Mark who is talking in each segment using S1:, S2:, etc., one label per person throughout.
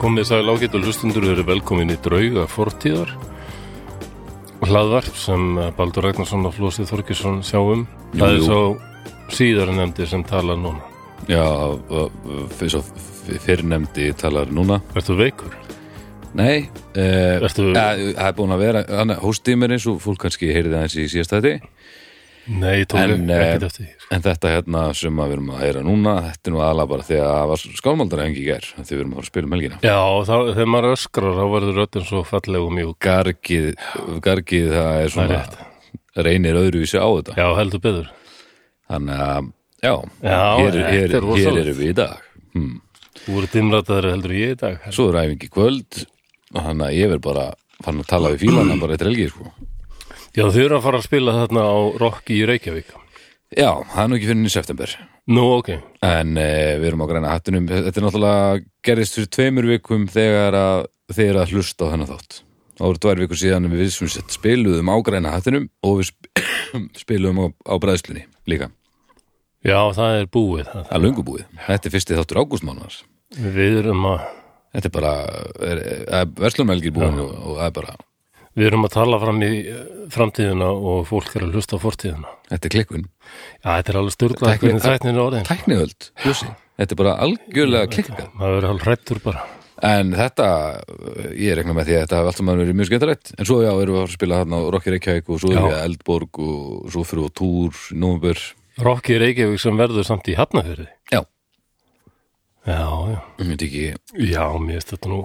S1: Komið sæl ágætt og hlustundur eru velkomin í drauga fortíðar hlaðvarp sem eh, Baldur Ragnarsson og Flósið Þorkesson sjáum
S2: Jú,
S1: um. það er
S2: jú.
S1: svo síðar nefndi sem tala núna
S2: Já, eins og fyrrnemdi talar núna
S1: Ertu veikur?
S2: Nei, eh,
S1: Ertu-
S2: eh, það er búin að vera annað- hóstdýmur eins og fólk kannski heyrði aðeins í síðast þætti
S1: Nei, ég tók
S2: En, eh,
S1: ekkert eftir því. sko.
S2: En þetta hérna sem að við erum að heyra núna þetta er nú aðla bara því að það var skálmaldar engi í gær því við erum að fara að spila um helgina
S1: Já, þá, þegar maður öskrar þá verður röddinn svo falleg og mjúk
S2: Gargið, gargið það er
S1: Það er
S2: svona reynir öðruvísi á þetta
S1: Já, heldur betur
S2: Þannig að, já,
S1: Já,
S2: hér,
S1: þetta
S2: hér,
S1: er
S2: hér,
S1: rosalegt.
S2: erum við í dag hm.
S1: Þú eru dimrataður heldur en ég í dag
S2: Svo er æfingi kvöld og þannig að ég verð bara farin að tala við fílana bara eitt helgi sko
S1: Já, þau eru að fara að spila þarna á Rokki í Reykjavík
S2: Já, það er nú ekki fyrir í september
S1: Nú, ok
S2: En uh, við erum á græna hattunum Þetta er náttúrulega gerðist fyrir tveimur vikum þegar að þeir eru að hlusta á þennan þátt Það voru tvær vikur síðan en við sem sett spiluðum á græna hattunum og við sp spiluðum á, á bræðslunni líka
S1: Já, það er búið það.
S2: Það er löngu búið Þetta er fyrsti þáttur ágústmánuðar
S1: Við erum að
S2: Þetta er bara, er, er, verslunmelgir búin og, og það er bara,
S1: Við erum að tala fram í eh, framtíðina og fólk er að hlusta á fortíðina.
S2: þetta er klikkun
S1: Já, þetta er alveg styrla
S2: Tækni-
S1: hvernig þætnin er orðin.
S2: Tækniöld, hlussi Þetta er bara algjörlega klikkað
S1: Maður verður alveg hrættur bara.
S2: En þetta, eh, ég rekna með því að þetta hafa allt saman verið mjög skemmtilegt En svo já, erum við að fara að spila þarna á Rocky Reykjavík og svo erum
S1: Já.
S2: við að Eldborg og svo fyrir við á Túr, Númbur
S1: Rokki Reykjavík sem verður samt í Hafnafjörði.
S2: Já,
S1: Já, já.
S2: ég veit ekki
S1: Já, mér finnst þetta nú,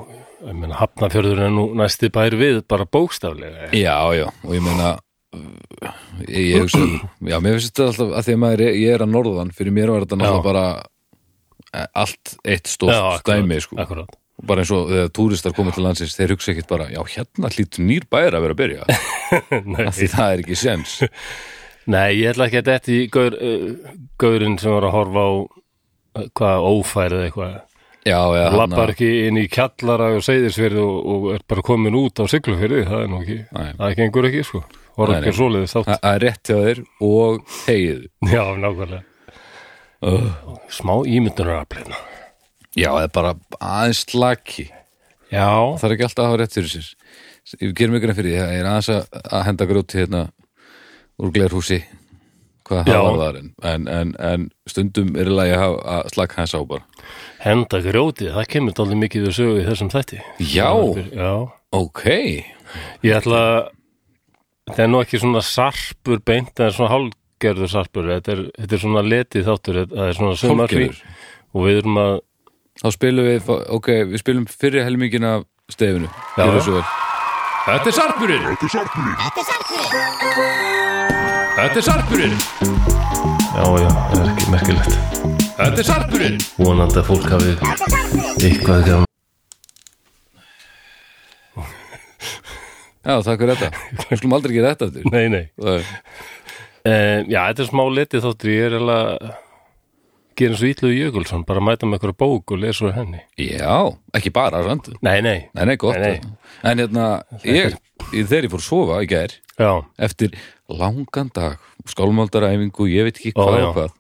S1: ég meina Hafnafjörður er nú næsti bær við, bara bókstaflega.
S2: Já, já, og ég meina eh, Ég, ég hugsa, já, mér finnst þetta alltaf að því að maður, er- ég er að norðan Fyrir mér var þetta náttúrulega bara eh, allt eitt stórt dæmi sko.
S1: Akkurat.
S2: Bara eins og þegar túristar komið til landsins Þeir hugsa ekkert bara, já, hérna hlýtur nýr bæri að vera að byrja
S1: Nei,
S2: Af Því það er ekki sens
S1: nei, ég ætla ekki að þetta í gaur, uh, gaurinn sem var að horfa á uh, hvað ófærið eitthvað.
S2: Já, já,
S1: Lappar ekki inn í kjallara og seyðisfyrði og, og er bara komin út á syklufyrði, það er nú ekki,
S2: Nei.
S1: það gengur ekki, sko.
S2: Nei,
S1: Horfum
S2: nei.
S1: ekki svoleiðist átt.
S2: Það það er rétt hjá þér og hegið
S1: Já, nákvæmlega. Smá ímyndunaraflina.
S2: Já, það er bara aðeins slaki
S1: Já.
S2: Það er ekki alltaf að hafa rétt fyrir sér Við gerum ykkur enn fyrir því, það er aðeins að- að henda grjóti hérna úr glerhúsi hvað
S1: Já.
S2: það var þar en, en, en, en stundum er í lagi að, hafa- að slaka hans á bara
S1: Henda grjótið, það kemur dálítið mikið við sögu í þessum þætti.
S2: Já,
S1: Já.
S2: ok
S1: Ég ætla að, þetta er nú ekki svona sarpur beint, það er svona hálgerður sarpur, þetta er, þetta er svona letið þáttur, þetta- það er svona sumarfrí
S2: Hálfgerður.
S1: og við erum að,
S2: Þá spilum við, ok, við spilum fyrir helmingin af stefinu
S1: Já.
S2: Gjörðu svo vel. Þetta er sarpurinn Þetta er sarpurinn
S1: já, já, það er ekki merkilegt.
S2: Þetta er sarpurinn
S1: vonandi að fólk hafi eitthvað gaman
S2: Já, takk fyrir þetta Við skulum aldrei gera þetta aftur
S1: Nei, nei
S2: Nei.
S1: um, Já, þetta er smá letið þáttur Ég er eiginlega gera eins og Ítlu Jökulsson bara mæta með eitthvað bók og lesa úr henni
S2: Já, ekki bara, sant?
S1: Nei, nei,
S2: Nei, nei, gott
S1: Nei, nei.
S2: En hérna, ég, ég, þegar ég fór að sofa í gær
S1: já,
S2: Eftir langan dag, skálmaldaræfingu, ég veit ekki
S1: Ó,
S2: hvað
S1: já.
S2: og hvað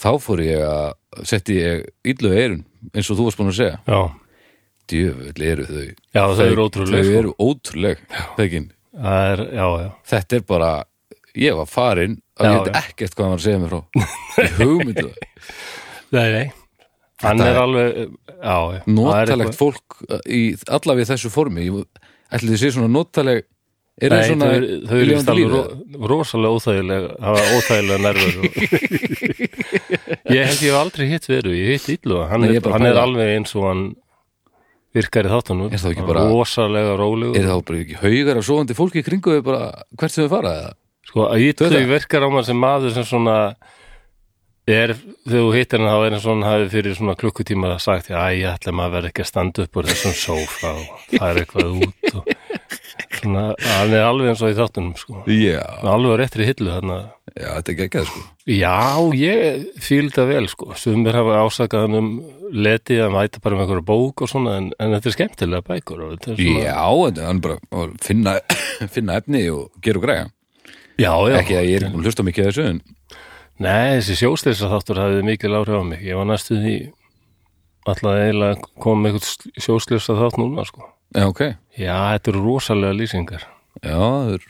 S2: Þá fór ég að setti ég illu eirun, eins og þú varst búin að segja
S1: já
S2: Djöfull eru þau
S1: Já, þau eru ótrúleg,
S2: Þau
S1: sko.
S2: eru ótrúleg, þekin
S1: Það er, já, já
S2: Þetta er bara, ég var farin að
S1: Já,
S2: ég veit
S1: já.
S2: ekkert hvað hann var að segja mér frá Ég hugmyndu það
S1: Nei, nei Hann
S2: Þetta
S1: er
S2: er-
S1: alveg, já, já Það er
S2: notalegt fólk uh, í allavega í þessu formi ætli þið sé svona notaleg er það
S1: Nei,
S2: svona
S1: þau, þau eru
S2: lifandi
S1: vist
S2: lífi?
S1: alveg ro, rosalega óþægilega hafa óþægilega nervur og... Ég held ég hef aldrei hitt veru ég hitt Ítlu, hann,
S2: Nei,
S1: er,
S2: ég er bara
S1: hann er
S2: bóða.
S1: alveg eins og hann virkar í þáttunum
S2: Er það ekki bara-
S1: rosalega rólegur
S2: er það bara ekki haugar af svoandi fólki í kringu þau bara hvert sem þau fara eða?
S1: Sko, að
S2: Þú veist
S1: Ítlu
S2: það?
S1: verkar á maður sem maður sem svona er, þegar þú hittir hann þá er hann svona hafi fyrir svona klukkutíma sagt, já, ég ætla maður verið ekki að standa upp úr þessum sófa og það er eitthvað út og svona, hann er alveg eins og í þáttunum, sko
S2: já,
S1: alveg á réttri hillu þarna
S2: já, þetta er geggjað sko
S1: Já, ég fíl þetta vel, sko sumir hafa ásakað hann um letið að mæta bara með einhverja bók og svona en, en þetta er skemmtilega bækur og þetta er svona
S2: já, þetta er hann bara að finna, finna efni og gera og græja
S1: já, já.
S2: ekki að ég er búin að hlusta mikið að þessu en
S1: Nei, þessi sjóstyrsa þáttur hafði mikil áhrif á mig. Ég var næstu því alltaf eiginlega að koma með eitthvað sjóslösa þátt núna sko.
S2: Já, ok.
S1: Já, þetta eru rosalega lýsingar
S2: Já, það er...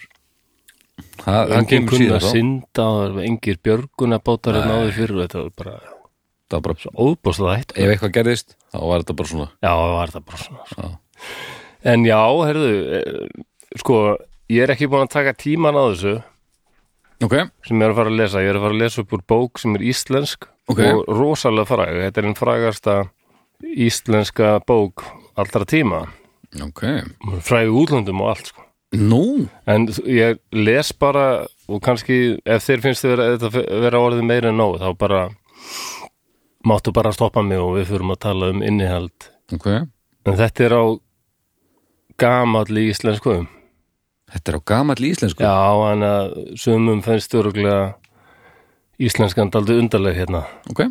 S2: Það, það
S1: Engin
S2: kemur
S1: kunna
S2: síðan
S1: að
S2: þá.
S1: synda og það eru engir björgunabátar en áður fyrir þetta var bara
S2: Það var bara...
S1: óbúslega hætt Já,
S2: Ef eitthvað gerðist, þá var þetta bara svona...
S1: það var það bara svona sko.
S2: Já.
S1: En já, herðu eh, sko, ég er ekki búin að taka tíman á þessu
S2: Ok,
S1: sem ég er að fara að lesa, ég er að fara að lesa upp úr bók sem er íslensk
S2: Ok.
S1: og rosalega fræg, þetta er einn frægasta íslenska bók allra tíma,
S2: ok.
S1: Hún er fræg í útlöndum og allt sko
S2: Nú,
S1: En ég les bara og kannski ef þeir finnst þið vera, þetta vera orðið meira en nóg þá bara máttu bara stoppa mig og við fyrum að tala um innihald.
S2: ok.
S1: En þetta er á gamall í íslenskuðum.
S2: Þetta er á gamall íslensku.
S1: Já, en að sumum finnst öruglega íslenskan daldið undarleg hérna.
S2: Ok.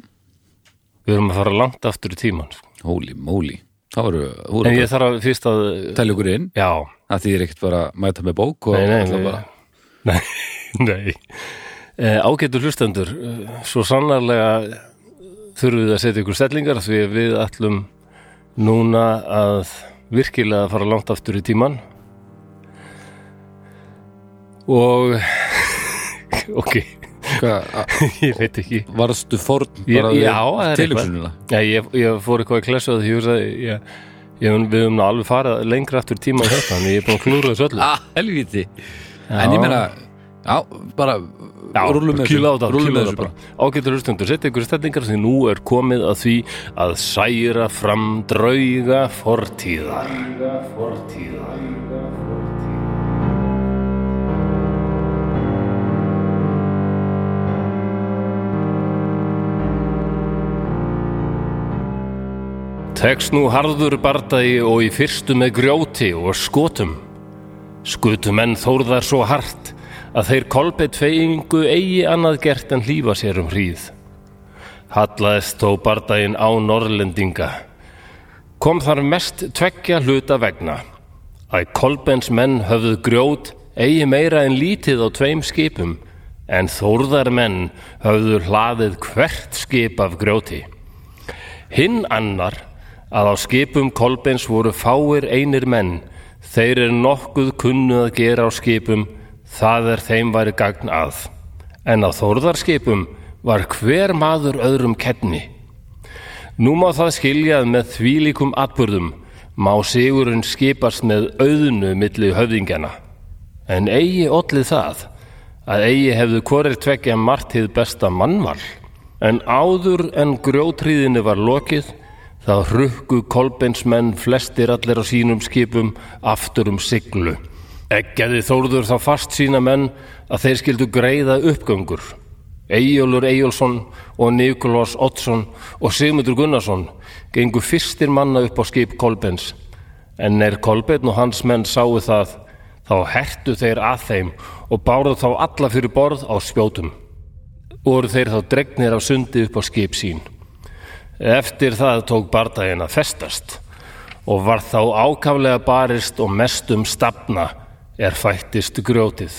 S1: Við erum að fara langt aftur í tíman. sko.
S2: Holy moly. Það voru... þú voru
S1: En
S2: að
S1: ég þarf að fyrst að...
S2: Tæli okkur inn.
S1: Já,
S2: Það þýðir ekkert bara að mæta með bók og...
S1: nei, nei,
S2: ætla
S1: nei,
S2: bara...
S1: nei, nei. E, ágætu hlustendur, eh, svo sannarlega þurfum við að setja ykkur stellingar því að við ætlum núna að virkilega fara langt aftur í tíman og ok,
S2: Hvað, a-
S1: ég veit ekki
S2: varstu forn
S1: Ég-
S2: bara við
S1: já, það er
S2: tilhugsunina?
S1: Já, ég, ég fór eitthvað að klessa því ég hugsaði, ég, ég, við höfum nú alveg farið lengra aftur í tíman þetta, en ég er búin að klúra þessu öllu
S2: Ah, helviti. En ég meina, já, bara
S1: Já,
S2: rúlum með
S1: kýla á það,
S2: rúllum
S1: kýla á
S2: með
S1: það
S2: þessu
S1: bara. Ágættur hlustendur, setja ykkur stendingar því nú er komið að því að særa fram drauga fortíðar. Tekst nú harður bardagi og í fyrstu með grjóti og skotum. Skutu menn þórðar svo hart að þeir kolbeitt feyingu eigi annað gert en hlýfa sér um hríð. Hallaðist þó bardaginn á Norrlendinga. Kom þar mest tveggja hluta vegna. Að kolbens menn höfðu grjót eigi meira en lítið á tveim skipum, en þórðar menn höfðu hlaðið hvert skip af grjóti. Hinn annar að á skipum Kolbens voru fáir einir menn, þeir er nokkuð kunnu að gera á skipum, það er þeim væri gagn að. En á þórðarskipum var hver maður öðrum kenni. Nú má það skilja að með þvílíkum atburðum má sigurinn skipast með auðnu milli höfðingjana. En eigi ollið það að eigi hefðu hvorir tvekja margt hið besta mannval. En áður en grjótríðinni var lokið, þá hrukku kolbeinsmenn flestir allir á sínum skipum aftur um siglu. Eggjaði Þórður þá fast sína menn að þeir skildu greiða uppgöngur. Eyjólfur Eyjólfsson og Nikolás Oddsson og Sigmundur Gunnarsson gengu fyrstir manna upp á skip Kolbens En er Kolbeinn og hans menn sáu það, þá hertu þeir að þeim og báruð þá alla fyrir borð á spjótum. Voru þeir þá dregnir af sundi upp á skip sín. Eftir það tók bardaginn að festast og var þá ákaflega barist og mestum stafna er fættist grjótið.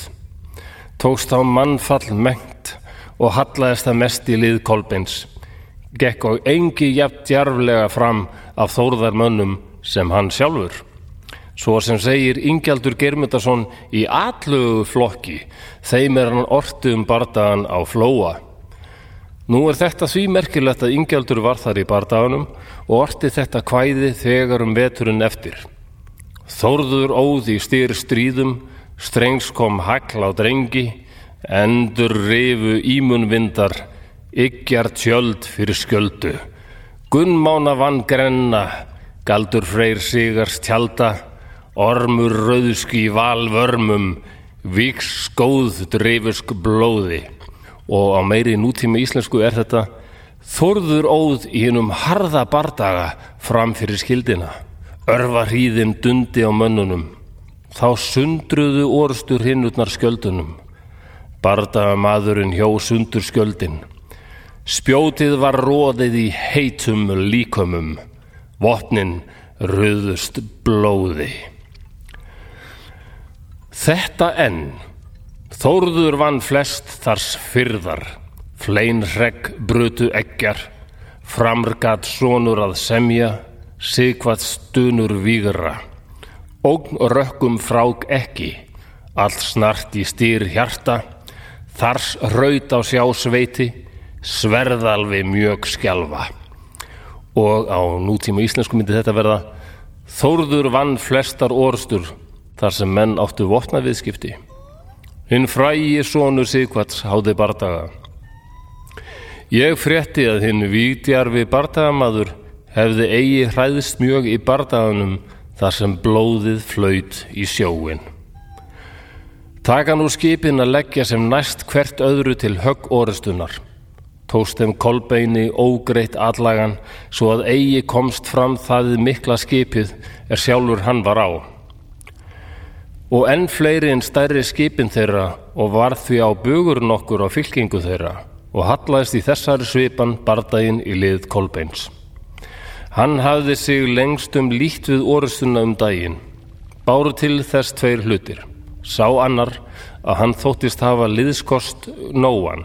S1: Tókst þá mannfall mengt og hallaðist það mest í lið Kolbeins. Gekk og engi jafn djarflega fram af þórðarmönnum sem hann sjálfur. Svo sem segir Ingjaldur Geirmundarsson í allugu flokki, þeim er hann ortu um bardagan á flóa. Nú er þetta því merkilegt að Ingjaldur var þar í bardaganum og orti þetta kvæði þegar um veturinn eftir. Þórður óð í styr stríðum, strengs kom hagl á drengi, endur rifu ímunvindar, yggjar tjöld fyrir skjöldu. Gunnmána vann grenna, galdur freyr sigars tjalda, ormur rauðski valvörmum, viks skóð drifusk blóði. Og á meiri nútími íslensku er þetta Þórður óð í hinnum harða bardaga fram fyrir skildina. Örva hríðin dundi á mönnunum. Þá sundruðu orustur hinnutnar skjöldunum. Bardagamaðurinn hjó sundur skjöldin. Spjótið var róðið í heitum líkömum. Vopnin röðust blóði. Þetta enn Þórður vann flest þars fyrðar, flein hregg brutu eggjar, framrgat sonur að semja, sigvað stunur vígra. Ógn rökkum frák ekki, allt snart í stýr hjarta, þars raut á sjá sveiti, sverðalvi mjög skjálfa. Og á nútíma íslensku myndi þetta verða Þórður vann flestar orðstur þar sem menn áttu vopna viðskipti. Hinn frægi sonur Sigvarts háði bardaga. Ég frétti að hinn vígdjarfi bardagamaður hefði eigi hræðist mjög í bardaganum þar sem blóðið flaut í sjóin. Taka nú skipin að leggja sem næst hvert öðru til högg orustunar. Tóst þeim kolbeini ógreitt allagan svo að eigi komst fram það mikla skipið er sjálfur hann var á og enn fleiri en stærri skipin þeirra og varð því á bugur nokkur á fylkingu þeirra og hallaðist í þessari svipan bardaginn í lið Kolbeins. Hann hafði sig lengst um líkt við orustuna um daginn. Báru til þess tveir hlutir. Sá annar að hann þóttist hafa liðskost nóan,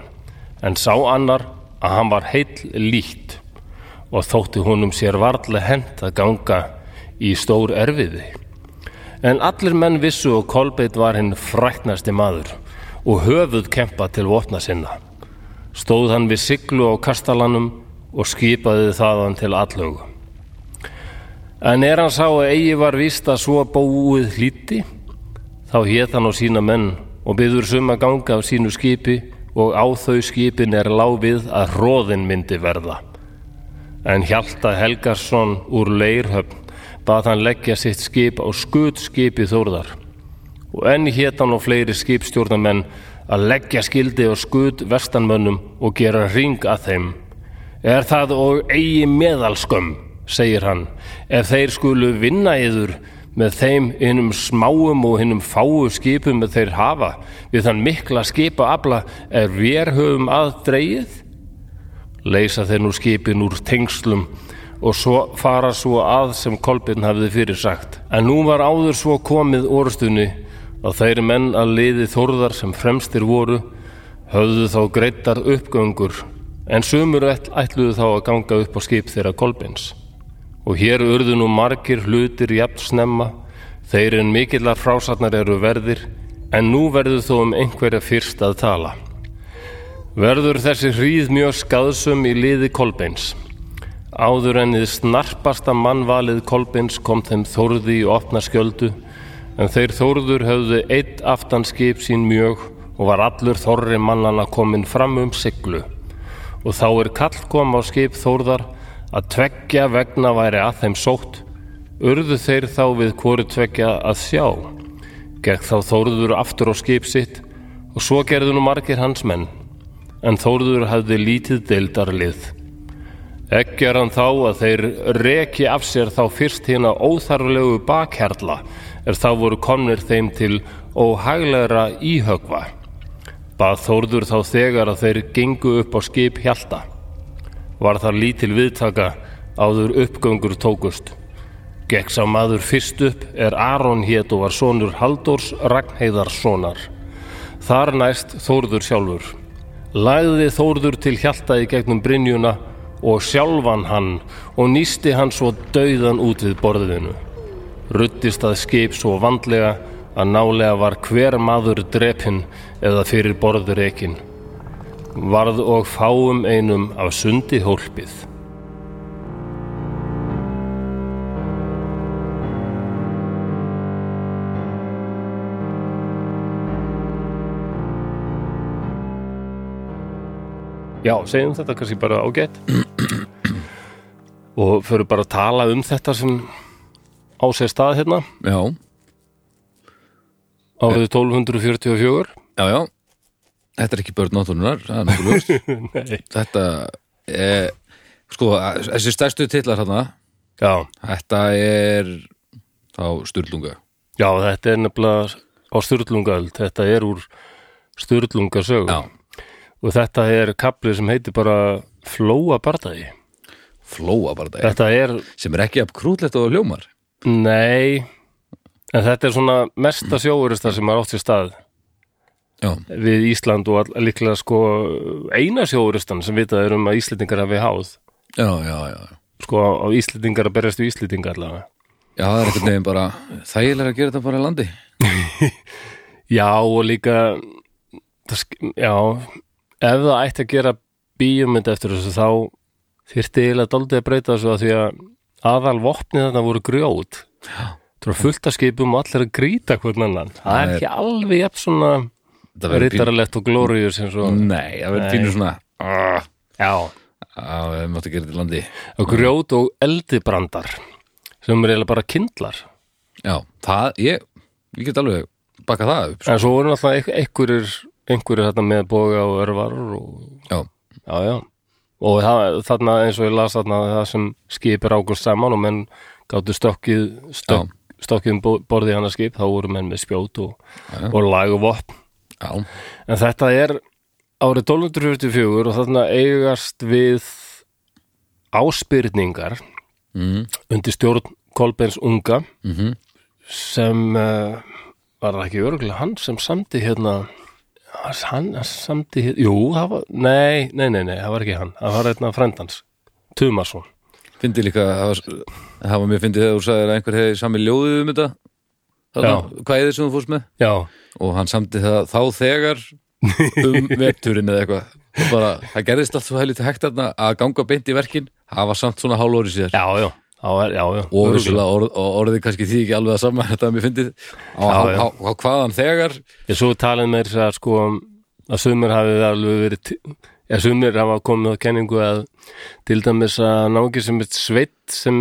S1: en sá annar að hann var heill líkt og þótti honum sér varlega hent að ganga í stór erfiði. En allir menn vissu og Kolbeitt var hinn fræknasti maður og höfuð kempa til vopna sinna. Stóð hann við siglu á kastalanum og skipaði þaðan til allögu. En er hann sá að eigi var víst að svo búið hlíti, þá hét hann á sína menn og byður suma ganga af sínu skipi og á þau skipin er láfið að hróðin myndi verða. En Hjalta Helgarsson úr Leirhöfn bað hann leggja sitt skip á skutskipi Þórðar. Og enn hét hann og fleiri skipstjórnamenn að leggja skildi á skut vestanmönnum og gera ring að þeim. Er það og eigi meðalskömm, segir hann, ef þeir skulu vinna yður með þeim hinnum smáum og hinnum fáu skipum með þeir hafa við þann mikla skipa afla er vér höfum að dreigið? leysa þeir nú skipin úr tengslum og svo fara svo að sem Kolbjörn hafði fyrir sagt. En nú var áður svo komið orðstunni að þeir menn að liði þórðar sem fremstir voru höfðu þá greittar uppgöngur en sömur ætluðu þá að ganga upp á skip þeirra Kolbjörns. Og hér urðu nú margir hlutir jafn snemma, þeir en mikillar frásagnar eru verðir en nú verður þó um einhverja fyrst að tala. Verður þessi hríð mjög skaðsum í liði Kolbeins. Áður en þið snarpasta mannvalið Kolbeins kom þeim þórði í opna skjöldu, en þeir þórður höfðu eitt aftan skip sín mjög og var allur þorri mannana komin fram um siglu. Og þá er kall kom á skip þórðar að tveggja vegna væri að þeim sótt, urðu þeir þá við hvori tveggja að sjá. Gekk þá þórður aftur á skip sitt og svo gerðu nú margir hans menn en Þórður hafði lítið deildarlið. Ekki er hann þá að þeir reki af sér þá fyrst hérna óþarflegu bakherla er þá voru komnir þeim til óhaglegra íhögva. Bað Þórður þá þegar að þeir gengu upp á skip hjalta. Var þar lítil viðtaka áður uppgöngur tókust. Gekk sá maður fyrst upp er Aron hét og var sonur Haldórs Ragnheiðarssonar. Þar næst Þórður sjálfur lagði Þórður til hjalta í gegnum Brynjuna og sjálfan hann og nýsti hann svo dauðan út við borðinu. Ruttist að skip svo vandlega að nálega var hver maður drepinn eða fyrir borður ekin. Varð og fáum einum af sundi hólpið. Já, segjum þetta kannski bara ágætt og förum bara að tala um þetta sem á sér stað hérna
S2: Já,
S1: árið 1244
S2: já, já Þetta er ekki börn náttúrunar, það er nokkuð ljóst
S1: Nei.
S2: Þetta, e, sko, þessi stærstu titlar þarna
S1: Já,
S2: Þetta er þá Sturlunga
S1: já, þetta er nefnilega á Sturlungaöld, þetta er úr Sturlungasög
S2: Já,
S1: og þetta er kaplið sem heitir bara Flóa barðaði
S2: flóa bara þetta
S1: Þetta er,
S2: Sem er ekki af krútlegt og hljómar
S1: nei en þetta er svona mesta sjóurista sem er átt sér stað
S2: Já,
S1: við Ísland og all, líklega sko eina sjóuristan sem vitað er um að Íslendingar hafi háð
S2: já, já, já.
S1: sko á, á Íslendingar að berjast við Íslendinga allavega
S2: Já, það er einhvern veginn bara þægilega að gera þetta bara í landi.
S1: já og líka það, sk- já ef það ætti að gera bíómynd eftir þessu þá þyrfti eiginlega daldið að breyta þessu að því að aðal vopnið þarna voru grjót þú eru fullt að skipum og allir að grýta hvern annan það er
S2: Það er-
S1: ekki alveg jafn svona
S2: Þetta verður pínu-
S1: rittaralegt og glóriður sem svo
S2: Nei, það verður
S1: Nei.
S2: pínu svona "Ah,
S1: já
S2: Já, við máttu gera þetta í landi.
S1: og grjót og eldibrandar sem eru eiginlega bara kindlar
S2: Já, það, ég, ég get alveg baka það upp. sko.
S1: en svo voru náttúrulega ein- einhverjir einhverjir þarna með boga og örvar og
S2: Já,
S1: já já og það, þarna eins og ég las þarna það sem skipir águst saman og menn gáttu stokkið stokk, stokkið um bo- borðið í annað skip þá voru menn með spjót og,
S2: Já, já.
S1: og lag og vopn
S2: já,
S1: en þetta er árið 1244 og þarna eigast við áspyrningar
S2: mm,
S1: undir stjórn Kolbens unga
S2: mm
S1: sem uh, var það ekki örgulega hann sem samdi hérna hann samdi hérna, jú, það var nei, nei, nei, nei, það var ekki hann það var hérna frendans, Tumarsson
S2: Fyndi líka, það var, það var mjög fyndið þegar þú sagðir að einhver hefði sami ljóðið um þetta. Þarna, hvað er þið sem þú fórst með?
S1: já,
S2: Og hann samdi það þá þegar um vetturinn eða eitthvað. Og Bara, það gerðist allt svo helítið hægt þarna að ganga beint í verkin, hafa samt svona hálóri sér.
S1: já, já, það var, já, já
S2: Og
S1: örugglega.
S2: vissulega orð, og orðið kannski því ekki alveg að saman þetta er mjög fyndið. Á, á,
S1: Já, já.
S2: á, á hvaðan þegar,
S1: ég svo talið meir að sko að sumir hafi alveg verið til- eða sumir hafa komið á kenningu að til dæmis að nági sem eitt sveitt sem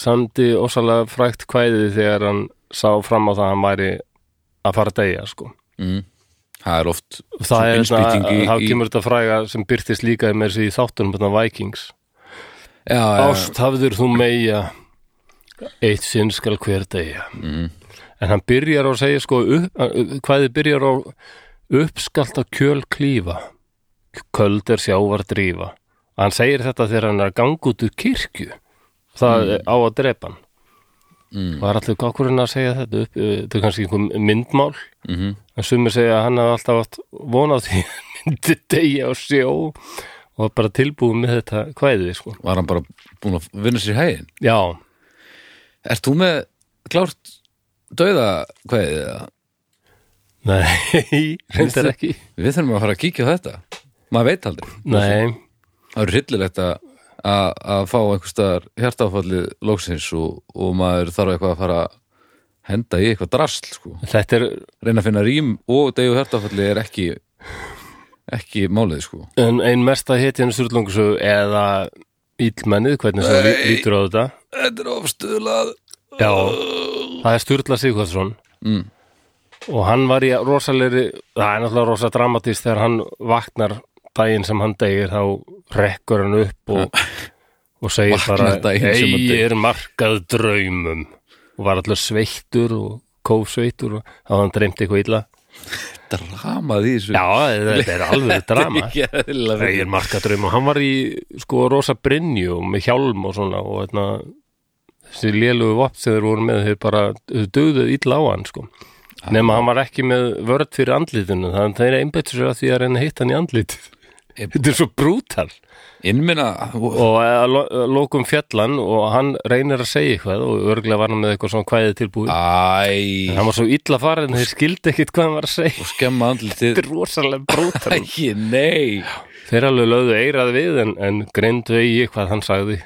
S1: samdi ósalega frækt kvæðið þegar hann sá fram á það að hann væri að fara að deyja sko
S2: mm, það er oft
S1: það er
S2: innspýting
S1: þetta,
S2: í,
S1: þá
S2: í,
S1: kemur þetta fræga sem byrtist líka með þessi í þáttunum þetta Vikings
S2: já, já,
S1: Ást hafður þú meia eitt sinn skal hver degja
S2: Mhm.
S1: en hann byrjar á að segja sko upp, hvað þið byrjar á uppskalt að kjöl klífa köld er sjávar drífa hann segir þetta þegar hann er að ganga út úr kirkju það á að drepa hann
S2: Mm.
S1: var allir gákurinn að segja þetta upp, Uh, þetta er kannski einhver myndmál
S2: mm
S1: en sumir segja að hann hafði alltaf átt von á því að hann myndi degja á sjó og var bara tilbúið með þetta kvæði sko.
S2: var hann bara búin að vinna sér í hæginn
S1: já,
S2: Ert þú með klárt dauða kveðið eða?
S1: nei, reyndar ekki
S2: Við þurfum að fara að kíkja á þetta Maður veit aldrei
S1: nei,
S2: Það er hryllilegt að að að fá einhverstaðar hjartáfallið lóksins og, og maður þarf eitthvað að fara að henda í eitthvað drasl sko.
S1: þetta er
S2: reyna að finna rím og degu hjartáfallið er ekki ekki málið sko.
S1: ein, ein mesta hetjan surlungu eða íllmennið, hvernig sem
S2: Nei.
S1: lí- lítur á þetta
S2: Þetta er ofstuðlað
S1: já, það er Sturla Sigvarsson
S2: Mm.
S1: og hann var í rosalegri það er náttúrulega rosa dramatist þegar hann vaknar daginn sem hann degir þá rekkur hann upp og, og segir
S2: Vaknar
S1: bara
S2: daginn sem hann
S1: eigir markað draumum og var alltaf sveittur og kófsveittur og þá hafði hann dreymt eitthvað illa
S2: Dramað í þessu
S1: já, þetta er alveg drama
S2: Ekki eðlilega fyndið.
S1: eigir markað draumum hann var í sko rosa brinju og með hjálm og svona og þetta þessi lélugu vopn sem þeir voru með þeir bara þau döðu illa á hann sko nema hann var ekki með vörð fyrir andlitinu þannig þeir einbyttu sér að því að reyna að hitta hann í andlit
S2: Ég-
S1: þetta er svo brútal
S2: Innminna
S1: og eh, að lo- að lokum fjallan og hann reynir að segja eitthvað og örglega var hann með eitthvað svona kvæði tilbúið
S2: Æ
S1: en hann var svo illa farin þeir skildi ekkit hvað hann var að segja
S2: og skemma andlitið
S1: þetta er rosalega brútal
S2: Æ, nei
S1: þeir alveg lögðu eirað við en, en greindu eigi hvað hann sagði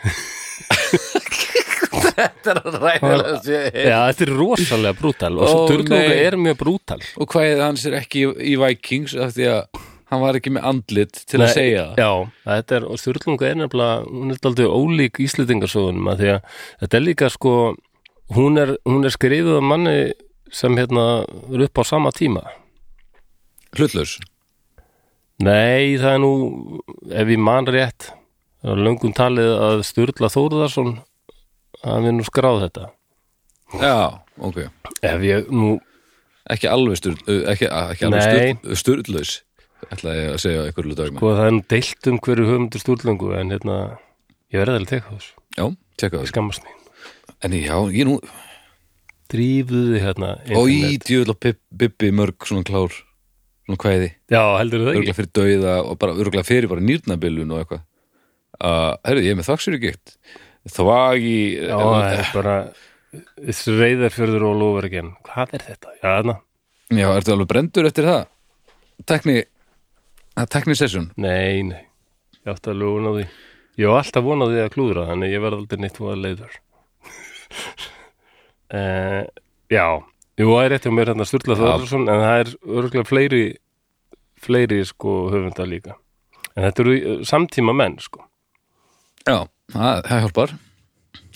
S2: Þetta er að ræða þessi
S1: Já, þetta er rosalega brútal og svo
S2: Ó,
S1: Turtlunga
S2: nei.
S1: er mjög brútal
S2: Og hvaðið hans er ekki í, í Vikings af því að hann var ekki með andlit til að segja það
S1: Já, þetta er, og Sturlunga er nefnilega hún er daldið ólík Íslendingasögunum að því að þetta er líka sko hún er, hún er skrifuð af manni sem hérna er upp á sama tíma
S2: Hlutlaus
S1: Nei, það er nú ef ég man rétt það er löngum talið að Sturla Þórðarsson að við nú skráð þetta
S2: Já, ok
S1: Ef ég nú,
S2: Ekki alveg sturl, uh, ekki, uh, ekki
S1: Nei.
S2: alveg sturl, sturlaus ætla ég að segja einhverju dagum
S1: hvað sko, það er nú deilt um hverju höfundur Sturlungu en hérna, ég verði alveg tekað þess,
S2: Já, tjekka það
S1: skammast mín
S2: En já, ég nú
S1: drífuðu hérna
S2: Og
S1: internet.
S2: í djöðla Bibbi mörg svona klár Svona hvaðið
S1: Já, heldur það ekki
S2: Örgla fyrir dauða og bara örgla fyrir bara nýrnabilun og eitthvað uh, herrðu, ég er með þaksur í gitt þvagi
S1: Já, það er bara reyðarfjörður og lóvergin. Hvað er þetta? Já, þarna.
S2: já, ertu alveg brendur eftir það tekni tekni session
S1: Nei, nei. Ég átti að lúna því. Ég var alltaf vonað því að klúðra, þannig ég verði aldrei neitt voða leiður. uh, já, jú, það er rétt hjá mér hérna Sturla Þorðarsson, en það er örgulega fleiri, fleiri sko höfunda líka. En þetta eru eh, samtíma menn, sko.
S2: já, það það hjálpar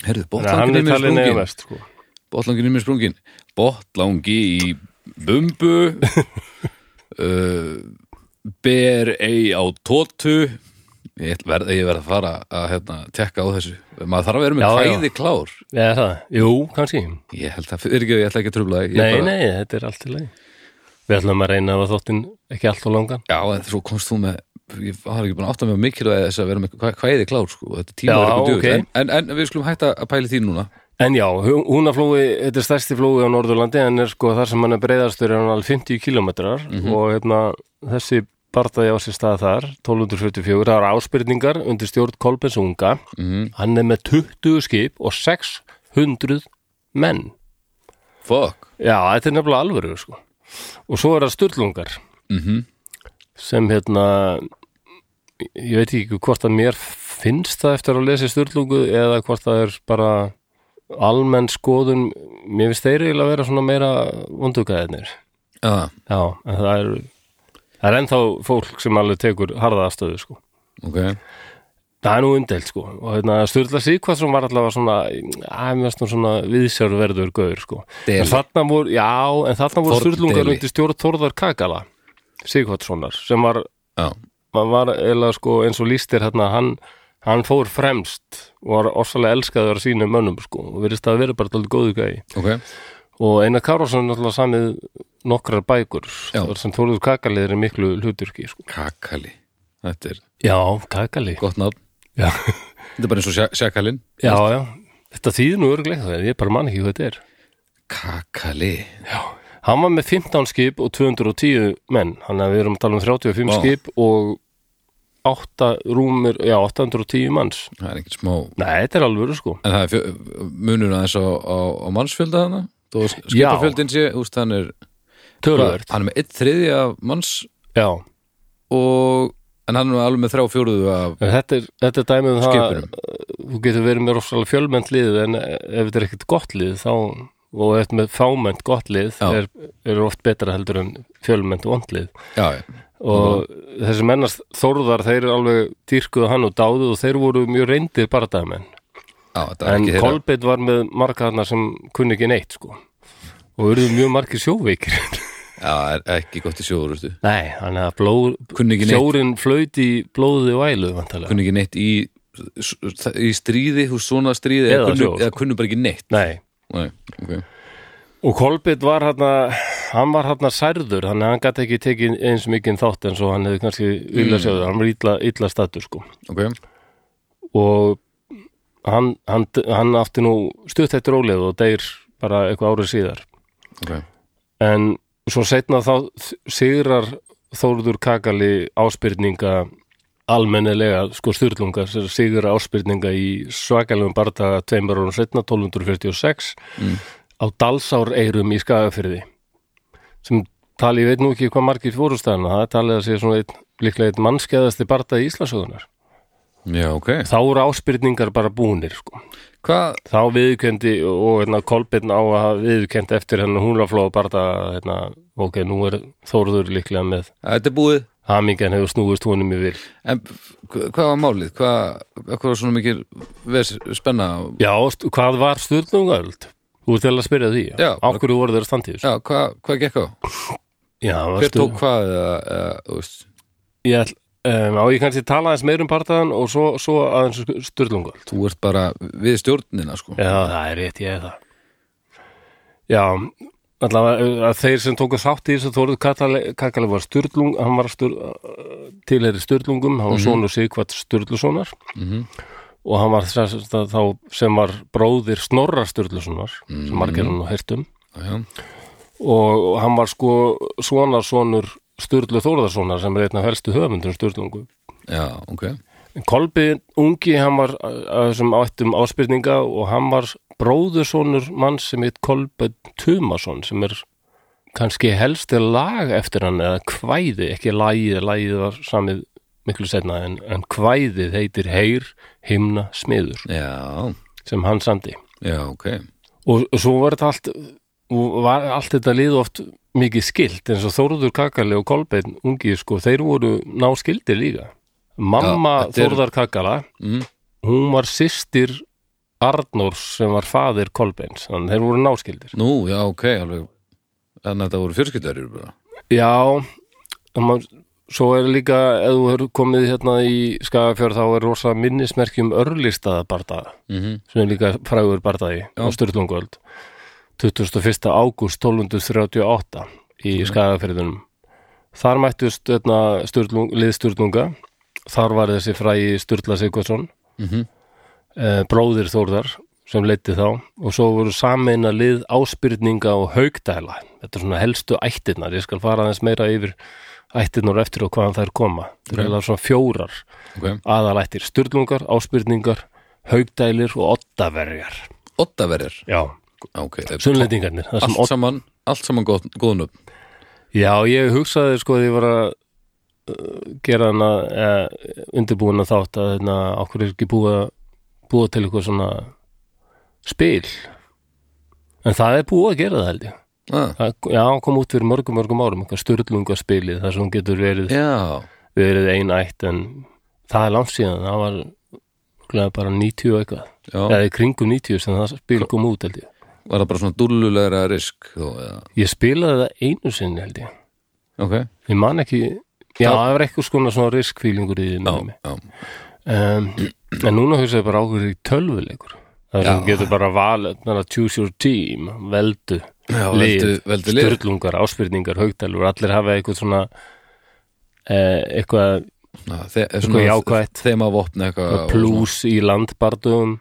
S2: herrðu,
S1: Þannig að hann
S2: botlanginum
S1: er
S2: er
S1: talið neða
S2: sprungin
S1: mest, sko.
S2: botlanginum er sprungin botlangi í bumbu uh, ber ei á tótu ég ætla- verð, ég verð að fara að hérna, tekka á þessu maður þarf að vera með
S1: Já, já.
S2: fæði klár
S1: Já, er það. Jú, kannski.
S2: ég held að, er ekki, ég ætla ekki að trubla þig. Ég
S1: Nei,
S2: bara-
S1: nei, þetta er allt í lagi. Við ætlum að reyna að hafa þóttin ekki allt og langan.
S2: Já, en svo komst þú með ég var ekki búin að átta mig á mikilvæg þess að vera með hvað hvæði klár sko, og þetta tíma
S1: Já,
S2: er eitthvað djöfull.
S1: ok.
S2: en, en, en við skulum hætta að pæli því núna
S1: En já, Hú- húnaflói, þetta er stærsti flói á Norðurlandi en er sko þar sem hann er breiðastur er hann alveg 50 kilometrar og hérna, þessi barðaði á sér stað þar 1244, það eru áspyrningar undir stjórn Kolbens unga hann er með 20 skip og 600 menn
S2: Fuck,
S1: Já, þetta er nefnilega alvöru sko. og svo er það sturlungar
S2: Mhm.
S1: sem hérna ég veit ekki hvort að mér finnst það eftir að lesa sturlungu eða hvort það er bara almenn skoðun mér finnst þeir eiginlega vera svona meira vondugaðinir
S2: ja,
S1: já, en það er það er ennþá fólk sem alveg tekur harða afstöðu sko
S2: ok
S1: það er nú umdelt sko og hérna, Sturla Sigvarsson var allavega svona að mér finnst nú svona viðsjárverður gaur sko
S2: Deli.
S1: en þarna voru, já, en þarna voru
S2: Þorn
S1: Sturlungar
S2: Deli.
S1: undir stjórn Þórðar Kakala Sigvarssonar sem var,
S2: Já,
S1: maður var eiginlega sko eins og lístir hérna, hann, hann fór fremst og var ofsalega elskaður af sínum mönnum sko og verðist að vera bara dálítið góðu gæi
S2: ok
S1: og Einar Kárásson náttúrulega samið nokkrar bækur
S2: Já.
S1: þar sem Þórður Kakali er í miklu hluturki sko.
S2: Kakali, þetta er
S1: já, Kakali
S2: gott nafn
S1: já.
S2: Þetta er bara eins og sjak- sjakalinn
S1: Já, já, þetta þýðir nú örglega það, ég bara man ekki hvað þetta er.
S2: Kakali
S1: Já. Hann var með 15 skip og 210 menn, hann að við erum að tala um 35
S2: Vá.
S1: skip og 8 rúmir, já, 810 manns.
S2: Það er ekkert smá
S1: Nei, þetta er alveg, sko.
S2: En það er fjö, munur aðeins á, á, á mannsfjölda hana Þú skipafjöldin sé, úst, hann er
S1: Tölvöld.
S2: Hann er með eitt þriði af manns
S1: Já,
S2: og, En hann er alveg með þrjá fjóruðu af
S1: en þetta er, þetta er dæmið um það að
S2: skipunum
S1: þú getur verið með rosalega fjölmennt lið en ef þetta er ekkert gott lið þá og eftir með fámennt gott lið
S2: Já.
S1: er, er oft betra heldur en fjölmennt vondlið.
S2: Já, já
S1: og þessi mennast þórðar þeir alveg dýrkuðu hann og dáðu og þeir voru mjög reyndir bardagamenn
S2: Já, þetta er
S1: en
S2: ekki þeirra-
S1: Kolbeitt var með marga þarna sem kunni ekki neitt sko og urðu mjög margir sjóveikir
S2: Já, er ekki gott í sjóður, veistu
S1: nei, hann hefði blóð
S2: Kunni ekki neitt,
S1: sjórin flaut í blóði og ælu vantarlega,
S2: kunni ekki neitt í, í stríði, hú svona stríði
S1: Eða
S2: kunnu,
S1: sjó, sko.
S2: eða kunnu bara ekki neitt
S1: nei
S2: Nei, ok
S1: og Kolbeitt var hann hann var hann særður, þannig að hann gæti ekki tekið eins mikið þátt en svo hann hefði kannski illa
S2: Mm.
S1: sjóður, hann var illa, illa stattur sko
S2: Ok,
S1: og hann, hann, hann átti nú stutt eitt rólið og deyr bara eitthvað árið síðar
S2: ok
S1: en svo setna þá sigrar Þórður Kakali áspyrninga almennilega sko styrlunga sem sigur áspyrninga í svakalum bardaga tveimur árum setna 1246
S2: Mm.
S1: á Dalsár eirum í Skagafyrði sem tali, ég veit nú ekki hvað margir fórustæðana, það er talið að sé svona einn, líklega einn mannskeiðasti bardaði Íslasögunar
S2: Já, ok
S1: þá eru áspyrningar bara búnir sko
S2: Hvað,
S1: þá viðkendi og hérna, Kolbeinn á að hafa viðkend eftir hennar húnaflóð bara það, hérna, ok, nú er Þórður líklega með
S2: þetta er búið
S1: hamingjan hefur snúist honum yfir
S2: En hva- hvað var málið? Hvað, hvað var svona mikil ves, spenna?
S1: Já, st- hvað var stjórnungaöld? Þú ert til að spyrja því,
S2: Já.
S1: á hverju voru þeirra standið þessu?
S2: Já, hvað, hvað gekk á?
S1: Já,
S2: Hver tók hvað eða, eða, þú veist
S1: Ég, ætl- um, á ég kannski tala aðeins meir um bardaðan og svo, svo aðeins um stjórnungaöld
S2: Þú ert bara við stjórnina, sko
S1: Já, það er rétt, ég er það Já, allavega uh, að þeir sem tóku þátt í þessu þóruð Kakali var Sturlung hann var stur, uh, tilheri Sturlungum hann var sonur Sigvart Sturlusonar
S2: Mhm.
S1: og hann var þess, að, þá sem var bróðir Snorra Sturlusonar sem margir hann og hirtum
S2: Já,
S1: og hann var sko svona sonur Sturlu Þórðarssonar sem er einn af helstu höfundum Sturlungu
S2: já, ok
S1: Kolbiðin ungi, hann var eh, að þessum áttum áspyrninga og hann var bróðursonur mann sem heit Kolbjörn Tumason sem er kannski helsti lag eftir hann eða kvæði, ekki lagið, lagið var samið miklu setna en, en kvæðið heitir Heyr, Himna, Smiður
S2: Já,
S1: sem hann samdi
S2: já, ok
S1: og, og svo var þetta allt og var allt þetta lið oft mikið skilt eins og Þórður Kakali og Kolbeinn ungi sko, þeir voru náskildir líka mamma
S2: Já, þetta er-
S1: Þórðar Kakala
S2: Mm.
S1: hún var systir Arnórs sem var faðir Kolbeins þannig að þeir voru náskildir
S2: Nú, já, ok, alveg Þannig að þetta voru fjörskiptverjur bara
S1: já, man, svo er líka ef þú er komið hérna í Skagafjörð þá er rosa um minnismerkjum örlistaða bardaða
S2: mm -hmm.
S1: sem er líka frægur barðaði á Sturlungöld 21. ágúst 1238 í skagafyrðunum þar mættust öðna, Sturlung, lið Sturlunga þar var þessi frægi Sturla Sigvarsson
S2: Mhm.
S1: eh, bróðir Þórðar sem leiti þá og svo voru sameina lið áspyrninga og haugdæla þetta er svona helstu ættirnar, ég skal fara aðeins meira yfir ættirnar á eftir og hvaðan þær koma það er eiginlega svona fjórar
S2: Ok,
S1: aðalættir styrlungar, áspyrningar, haugdælir og oddaverjar.
S2: ottaverjur
S1: Já.
S2: Ok, þetta er
S1: Sunnlendingarnir. það sem
S2: allt saman, allt saman góð, góðnum
S1: odd- Já, ég hugsaði sko því ég var að uh, gera hana eh, undirbúin að þátt að hérna, okkur er ekki búið að búa til eitthvað svona spil. En það er búið að gera það held ég.
S2: ah,
S1: Það, já, kom út fyrir mörgum, mörgum árum, eitthvað styrlungaspilið, þar sem hún getur verið
S2: Já,
S1: verið einætt en það er langt síðan, það var örugglega bara 90 og eitthvað
S2: já,
S1: eða í kringum 90 sem það spil kom út held ég
S2: var það bara svona dullulegra risk þó, eða,
S1: ég spilaði það einu sinni held ég
S2: ok
S1: ég man ekki, já það var eitthvað skona svona riskfílingur í því
S2: Já,
S1: um,
S2: já,
S1: en núna hugsa ég bara ákveður í tölvuleikur þar sem
S2: Já.
S1: getur bara valið bara choose your team, veldu
S2: já
S1: lið,
S2: veldu, veldu lið
S1: störlungar, áspyrningar, haugdælur allir hafa eitthvað svona eh, eitthvað
S2: Já, þe-
S1: Eitthvað jákvætt.
S2: þeim að vopna eitthvað og svona.
S1: plús í landbardugum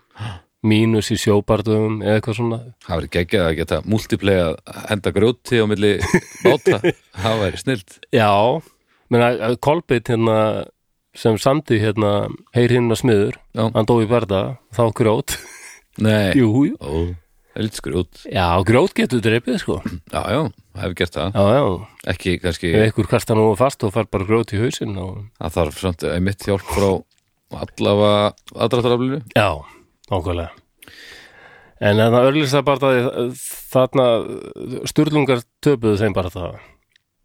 S1: mínus í sjóbardugum eða eitthvað svona
S2: það verður geggjað að geta multiplay að henda grjóti á milli báta það væri snilt
S1: Já, menna Kolbeitt hérna sem samdi hérna heyr hinn að smiður,
S2: Já.
S1: hann dói verða þá grjót,
S2: nei,
S1: jú, jú
S2: Ó, það er lítið grjót
S1: Já, grjót getur dreipið sko
S2: já, já, það hefur gert það
S1: Já, já,
S2: ekki kannski,
S1: ef einhver kasta nú fast og fær bara grjót í hausinn og...
S2: það þarf samt einmitt hjálp frá allavega aðdraftaraflinu
S1: Já, nákvæmlega En þarna örlýsta bara þarna sturlungar töpuðu þeim bara það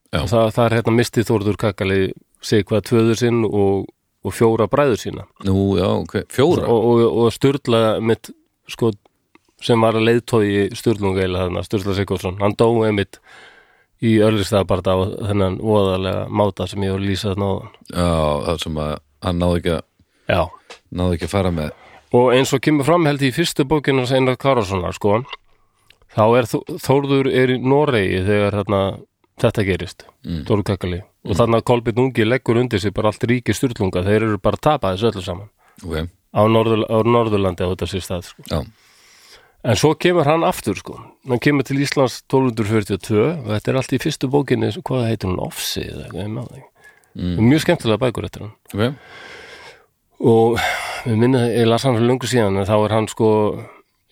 S2: Já.
S1: Það, það er hérna misti Þórður Kakali sig hvað tvöður sinn og, og fjóra bræður sína
S2: nú, já, ok, fjóra
S1: og, og, og Sturla mitt sko, sem var að leiðtói Sturlunga eða þarna, Sturla Sigurðsson hann dó einmitt í örlistæðabarta á þennan óðalega máta sem ég var að lýsa þarna áðan
S2: já, það sem að hann náði ekki að
S1: Já.
S2: náði ekki að fara með
S1: og eins og kemur fram held ég í fyrstu bókinu hans Einar Karássonar sko þá er Þó- Þórður er í Noregi þegar þarna, þetta gerist mm. Þórður Kakali og þarna Kolbjörn Ungi leggur undir sig bara allt ríki Sturlunga þeir eru bara að tapa þessu öllu saman
S2: ok,
S1: á, Norður, á Norðurlandi á þetta sér stað sko.
S2: já,
S1: En svo kemur hann aftur sko hann kemur til Íslands 1242 og þetta er allt í fyrstu bókinni sem- hvað heitir hún, Offsi eða eitthvað ég man það ekki. mjög skemmtilega bækur eftir hann
S2: ok
S1: og ég minna, ég las hann fyrir löngu síðan en þá er hann sko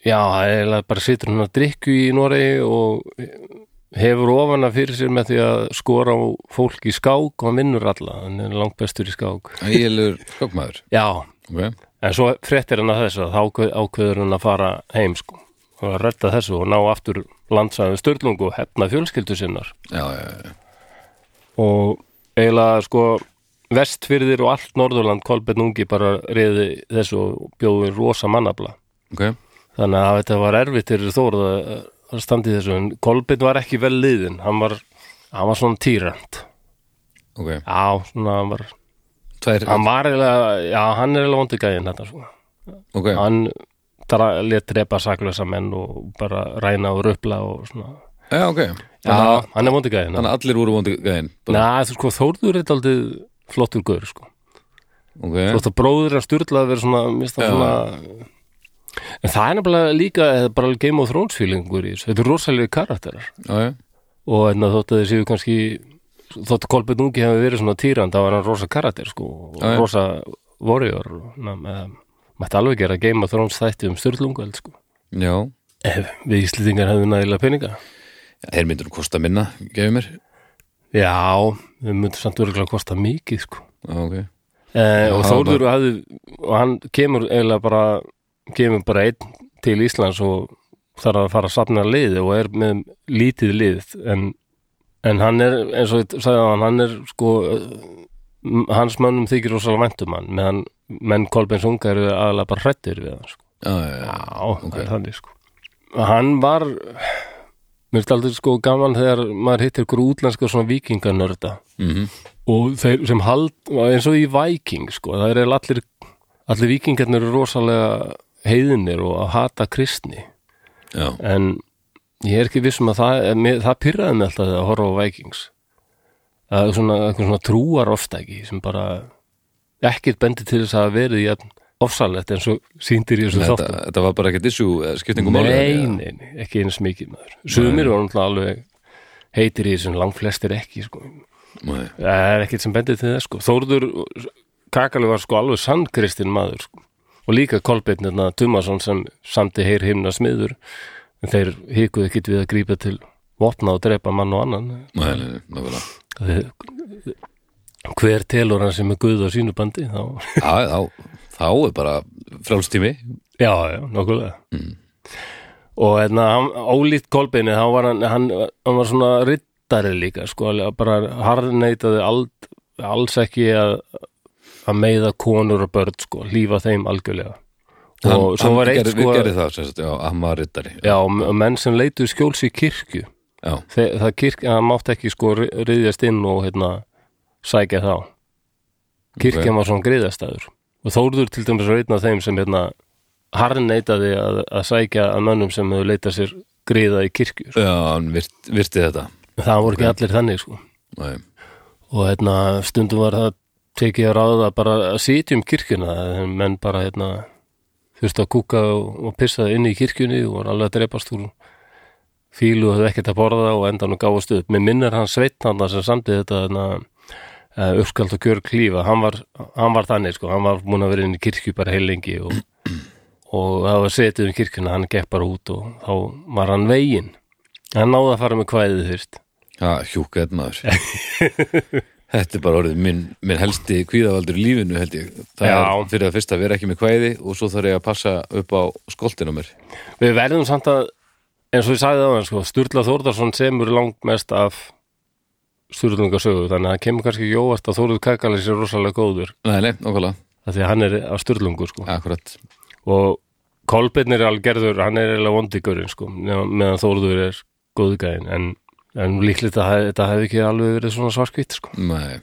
S1: já, það er eiginlega bara situr hann að drikku í Noregi og hefur ofana fyrir sér með því að skora á fólk í skák og hann vinnur alla hann er langt bestur í skák
S2: Ægilur skákmaður
S1: já,
S2: okay.
S1: En svo fréttir hann að þessu að þá ákveð- ákveður hann að fara heim sko og að redda þessu og ná aftur landsæðum störlungu og hefna fjölskyldu sinnar
S2: Já, já, já,
S1: og eiginlega sko vestfyrðir og allt Norðurland Kolbjörn Ungi bara reyði þessu og bjóði rosa mannafla
S2: ok
S1: þannig að þetta var erfitt fyrir Þórð að að standa í þessu en Kolbjörn var ekki vel liðin hann var, hann var svona týrand
S2: Ok,
S1: já, svona hann var
S2: tvær,
S1: hann var eiginlega, já, hann er eiginlega vondi gæðin þetta sko
S2: ok,
S1: hann dra- lét drepa saklösa menn og bara ræna og röpla og svona
S2: já, ok
S1: já, hann er vondi gæðin
S2: Þannig að allir voru vondi gæðin bara,
S1: Nei, þú sko, Þórður er aldrei flottur gaur, sko
S2: Ok,
S1: Þótt að bróður að styrla að vera svona, mista
S2: Já.
S1: svona En það er nefnilega líka eða bara Game of Thrones feelingur í þessu Þetta er rosalega karakterar
S2: já, já,
S1: og enna þótt að þeir séu kannski þótt að Kolbjörn Ungi hefði verið svona týrand þá var hann rosa karakter, sko og
S2: Já, já.
S1: rosa Warrior og, na, með, mætti alveg gera Game of Thrones þætti um styrlungu sko.
S2: Já,
S1: ef við Íslendingar hefðu nægilega peninga
S2: þeir myndur nú kosta minna, gefið mér
S1: já, við myndum samt örgulega kosta mikið sko.
S2: Já, ok
S1: eh, og
S2: Já,
S1: Þórður hafði og hann kemur eiginlega bara kemur bara einn til Íslands og þarf að fara að safna liði og er með lítið lið en, en hann er, eins og ég sagði hann, hann er sko eh, hans mönnum þykir rosalega væntum hann meðan menn Kolbeins unga eru aðalega bara hrættir við hann sko.
S2: Já, já, já,
S1: Já, það er þannig sko Hann var mér finnst aldrei sko gaman þegar maður hittir ykkur útlenska svona vikinganörda
S2: Mhm.
S1: og þeir sem hald eins og í Viking sko, það er allir allir vikingarnir eru rosalega heiðinir og að hata kristni
S2: já
S1: en ég er ekki vissum að það en mér, það pyrraði mig alltaf að horfa á Vikings það er svona, eitthvað svona trúar ofstæki sem bara ekkert bendi til þess að hafa verið jafn ofsalett eins og sýndir í þessu
S2: þetta,
S1: þáttum
S2: þetta var bara ekkert issue, eh, skiptingu máli
S1: Nei, nei, nei, ekki eins mikið maður Sumir var náttúrulega alveg heitir í þessum langflestir ekki sko.
S2: nei
S1: Það er ekkert sem bendir til þess sko. Þórður Kakali var sko alveg sannkristinn maður sko. og líka Kolbeinnirna Tumason sem samti heyr himna smiður en þeir hikuðu ekkit við að grípa til vopna og drepa mann og annan
S2: Nei, nei, nei, nákvæmlega.
S1: Þeir- Hver telur hann sem er guð á sínu bandi þá
S2: Já, þá, þá er bara frálstími
S1: Já, já, nokkulega
S2: Mm.
S1: Og hérna, hann, ólíkt Kolbeini hann var, hann, hann, hann var svona rittari líka, sko, alveg bara harðneitaði ald, alls ekki að, að meiða konur og börn, sko, lífa þeim algjörlega Og svo var eitt,
S2: gerði,
S1: sko
S2: Við gerði það, sem sagt, já, hann var rittari
S1: Já, og menn sem leitu skjóls í kirkju
S2: já,
S1: Þe, það kirkja, það mátt ekki sko ri- ryðjast inn og hérna sækja þá kirkjan var svona griðastæður og Þórður til dæmis var einn af þeim sem hérna harneitaði að, að sækja að mönnum sem hefur leitað sér griða í kirkju sko.
S2: já hann virt, virti þetta
S1: það voru ekki allir þannig sko
S2: Nei,
S1: og hérna stundum var það tekið að ráða bara að sitja um kirkjuna en menn bara hérna þurfti að kúka og, og pissa inn í kirkjunni og var alveg að drepast úr fílu og höfðu ekkert að borða og endan og gáfast upp. Mér minnir hann sveitt hann sem samtið þetta hérna, eh, uppskald og gjör klífa. Hann var, hann var þannig sko, hann var múin að vera inn í kirkju bara heilengi og, og það var setið um kirkjuna, hann gekk bara út og þá var hann veginn. Hann náði að fara með kvæðið fyrst.
S2: já, hjúka þetta maður Þetta er bara orðið minn, minn helsti kvíðavaldur í lífinu, held ég Það
S1: Já.
S2: er fyrir að fyrst að vera ekki með kvæði og svo þarf ég að passa upp á skoltinu mér
S1: Við verðum samt að eins og ég sagði það, sko, Sturla Þórðarsson semur langmest af Sturlungasögu, þannig að það kemur kannski ekki óvart að Þórður Kakali sé rosalega góður
S2: Nei, nei, nákvæmlega,
S1: af því að hann er af Sturlungu sko.
S2: akkurat
S1: og Kolbeinn er algerður, hann er eiginlega vondigurinn sko, nema- meðan Þórður er góðgæðin en, en líklegt að hef- þetta hefði ekki alveg verið svona svarkvitt sko.
S2: Nei,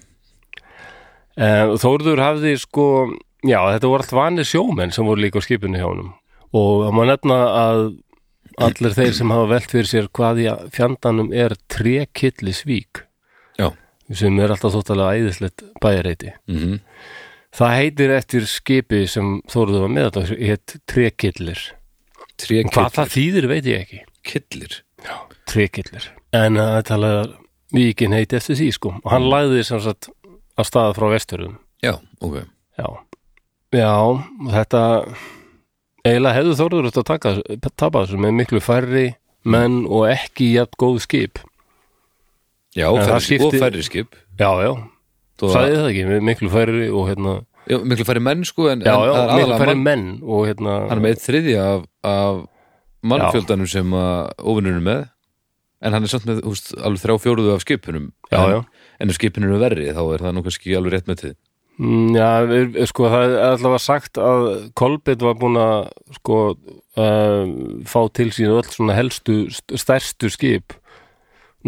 S1: Eh, Þórður hafði sko, já þetta voru allt vanir sjómenn sem voru líka á skipinu hjá honum og það má nefna að allir þeir sem hafa velt fyrir sér hvað í fjandanum er trekillisvík
S2: já,
S1: sem er alltaf þóttalega æðislegt bæjareiti.
S2: mhm
S1: Það heitir eftir skipi sem Þórður var með þetta, hétt trekillir.
S2: Tré
S1: En Hvað það þýðir veit ég ekki.
S2: killir
S1: Trekillir. En að þetta talaði víkin heiti eftir því sko og hann lagði sem sagt að staða frá vesturum
S2: Já, ok
S1: Já, já þetta eiginlega hefðu Þórður þetta að taka, tapa þessu með miklu færri menn og ekki jafn góð skip
S2: Já,
S1: það
S2: færri,
S1: skipti-
S2: og færri skip
S1: Já, já,
S2: Þó að-
S1: sagði það ekki með miklu færri og hérna
S2: já, Miklu færri menn sko en,
S1: Já,
S2: en
S1: já,
S2: það er
S1: miklu
S2: aðalega
S1: færri
S2: mann,
S1: menn og hérna
S2: hann er með eitt þriðja af, af mannfjöldanum sem ofinunum með en hann er samt með húst, alveg þrjá fjóruðu af skipunum
S1: Já,
S2: en,
S1: já.
S2: en ef skipin eru verri þá er það nú kannski alveg rétt með til
S1: Mm, Já, er- er- sko það er allavega sagt að Kolbett var búin að sko uh, fá til sín öll svona helstu, st- stærstu skip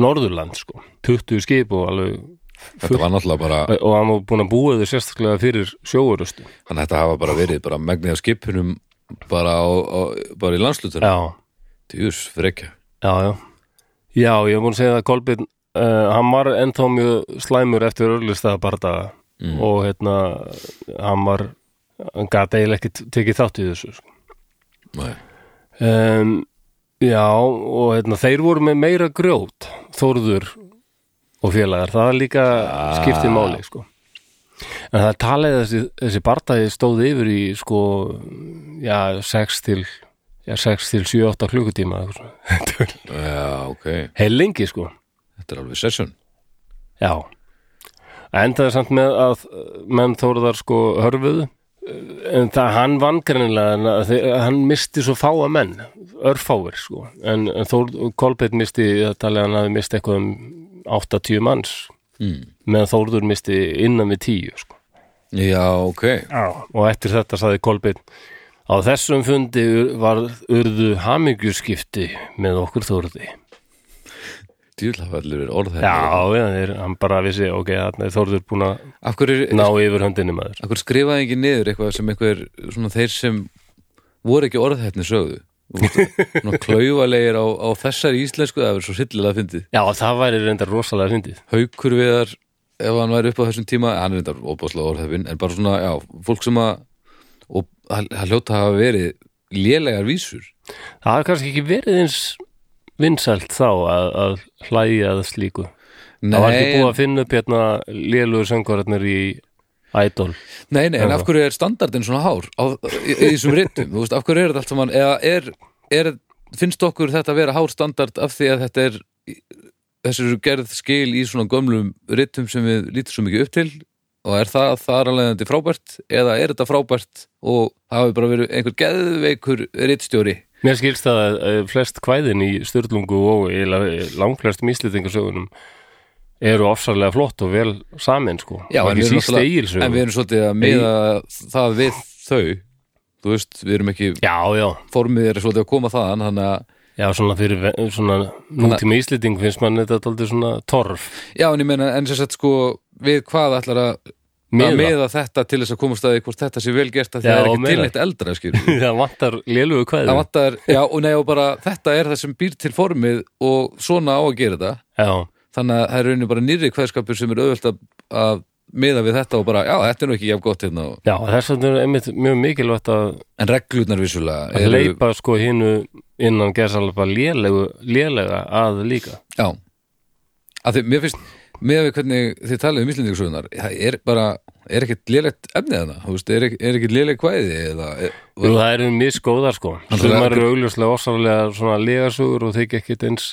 S1: Norðurland sko 20 skip og alveg
S2: Þetta var náttúrulega bara,
S1: og hann var búin að búa þau sérstaklega fyrir sjóurustu
S2: hann hætti að hafa bara verið bara megnið af skipunum bara, á, á, bara í landslutunum
S1: Já,
S2: Jús, frekja
S1: já, já Já, ég hef búin að segja það Kolbeinn uh, hann var ennþá mjög slæmur eftir örlistæða bardaga og hérna hann var hann gat eiginlega ekki tekið þátt í þessu sko.
S2: Nei.
S1: um, Já, og hérna þeir voru með meira grjót Þórður og félagar, það líka skipti máli sko En það er talið að þessi, þessi bardagi stóð yfir í sko, já, 6 til, já, 6 til 7-8 klukkutíma. eitthvað svona. Þetta
S2: Já, ok.
S1: er Heil lengi, sko.
S2: Þetta er alveg session.
S1: Já. Endaði samt með að menn þóruðar sko hörfuðu. En það hann vann greinilega, en að þe- hann misti svo fáa menn, örfáir sko. En, en Þórð, Kolbeitt misti, það talið að hann hafi misti eitthvað um 8-10 manns.
S2: Mm.
S1: Meðan Þórður misti innan við 10 sko.
S2: Já, ok.
S1: Já. og eftir þetta saði Kolbeinn á þessum fundi ur- varð urðu hamingjuskipti með okkur þórði
S2: Dýrlafallur er orð
S1: já,
S2: þetta.
S1: já þeir, hann bara vissi ok, þarna er þórður búin að
S2: Af hverju er,
S1: ná yfir höndinni maður
S2: Akkur skrifaði ekki niður eitthvað sem einhver, svona þeir sem voru ekki orðhætni sögðu Þú veist, svona klaufalegir á, á þessari íslensku það verður svo sillilega fyndið
S1: já, það væri reyndar rosalega fyndið
S2: Haukur viðar, ef hann væri upp á þessum tíma hann er reyndar óbáslega orðhæfin en bara svona, já, fólk sem að og hann hann hljóta að hafa verið lélegar vísur
S1: það er kannski ekki verið eins vinsælt þá að, að hlæja að slíku það var ekki búið að finna upp hérna lélugur söngvararnir í Idol
S2: nei, nei, en af hverju er standardin svona hár á, í, í þessum rittum, þú veist, af hverju er þetta allt saman eða er, er, finnst okkur þetta að vera hár standard af því að þetta er þessi eru gerð skil í svona gömlum rittum sem við lítum svo mikið upp til og er það þar alvegandi frábært eða er þetta frábært og það hafi bara verið einhver geðveikur rittstjóri
S1: Mér skilst það að eh, flest kvæðin í Sturlungu og eiginlega langflestum íslendingasögunum eru ofsarlega flott og vel samin sko.
S2: Já,
S1: og
S2: en við, erum
S1: ekki síst
S2: náttúrulega- en við
S1: eigilsögun.
S2: erum svolítið að miða það við þau þú veist, við erum ekki
S1: Já, já,
S2: formið er svolítið að koma þaðan þannig að,
S1: já, svona fyrir ve- svona nútíma íslending finnst mann þetta aldrei svona torf.
S2: já en ég meina en sem sagt sko, við hvað ætlar að að
S1: Miða,
S2: miða þetta til þess að komast að því hvort þetta sé vel gert að því
S1: Já,
S2: það er
S1: og
S2: ekki til
S1: miða.
S2: neitt eldra skilur
S1: það vantar lélugu
S2: það
S1: kvæðin.
S2: vantar, já, og nei, og bara þetta er það sem býr til formið og svona á að gera þetta
S1: Já,
S2: þannig að það er raunin bara nýri kveðskapur sem er auðvöld að, að miða við þetta og bara, já, þetta er nú ekki jafn gott hérna og-
S1: já, þess vegna er einmitt mjög mikilvægt að
S2: en reglurnar vissulega
S1: að leipa sko hinnu innan gerðsalapa lélegu, lélega að líka.
S2: já, að því, mér finnst með við hvernig þið talið um íslendingasögunar það er bara, er ekkert lélegt efnið hana, þú veist, er, ekki- er ekkert lélegt kvæði eða, er,
S1: Jú, það eru misgóðar sko.
S2: Náttúrulega-
S1: Sumar eru augljóslega ofsarlega svona legasögur og þykja ekkit eins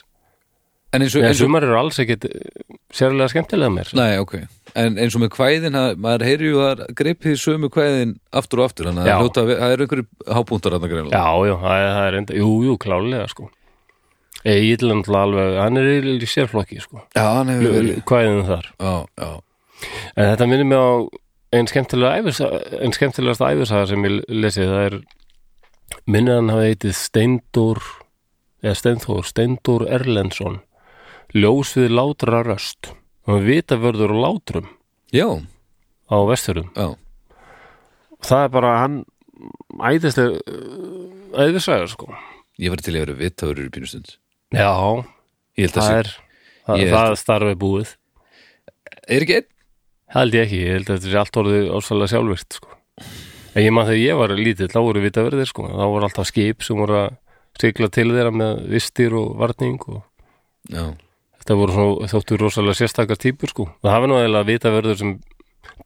S2: en eins og,
S1: Nei,
S2: eins og
S1: sumar eru alls ekkit eh, sérlega skemmtilega mér.
S2: Nei, ok, en eins og með kvæðin það, maður heyri ju að greipið sömu kvæðin aftur og aftur, þannig að
S1: Já.
S2: það hljóta að ve- það eru einhverju hápúntar að það greinlega
S1: Já, já, það er, það er enda, jú, jú, klálega, sko. Egil er náttúrulega alveg, hann er eiginlega í sérflokki, sko.
S2: Já, hann hefur verið
S1: Hvaðin þar.
S2: Já, já,
S1: En Eh, þetta minnir mig á einn skemmtilega æfisaga, einn skemmtilegasta æfisaga sem ég lesið, það er, minnir hann hafa heitið Steindór, eða Steinþór, Steindór Erlendsson, ljós við látra röst. Hann vita vörður á látrum
S2: já,
S1: á vesturum.
S2: já.
S1: og það er bara hann æðislega æðislega sko
S2: Ég var til að vera vitavörur í pínustund
S1: já,
S2: Ég held að
S1: það
S2: sé,
S1: er það,
S2: Ég held
S1: það starfi búið
S2: er ekki einn?
S1: það held ég ekki, ég held að þetta sé allt orðið ásvalega sjálfvirt sko en ég maður þegar ég var lítill, þá voru vitaverðir sko þá voru alltaf skip sem voru að sigla til þeirra með vistir og varning og
S2: Já,
S1: þetta voru svona, þóttu rosalega sérstakar típur sko það hafi nú eða vitaverður sem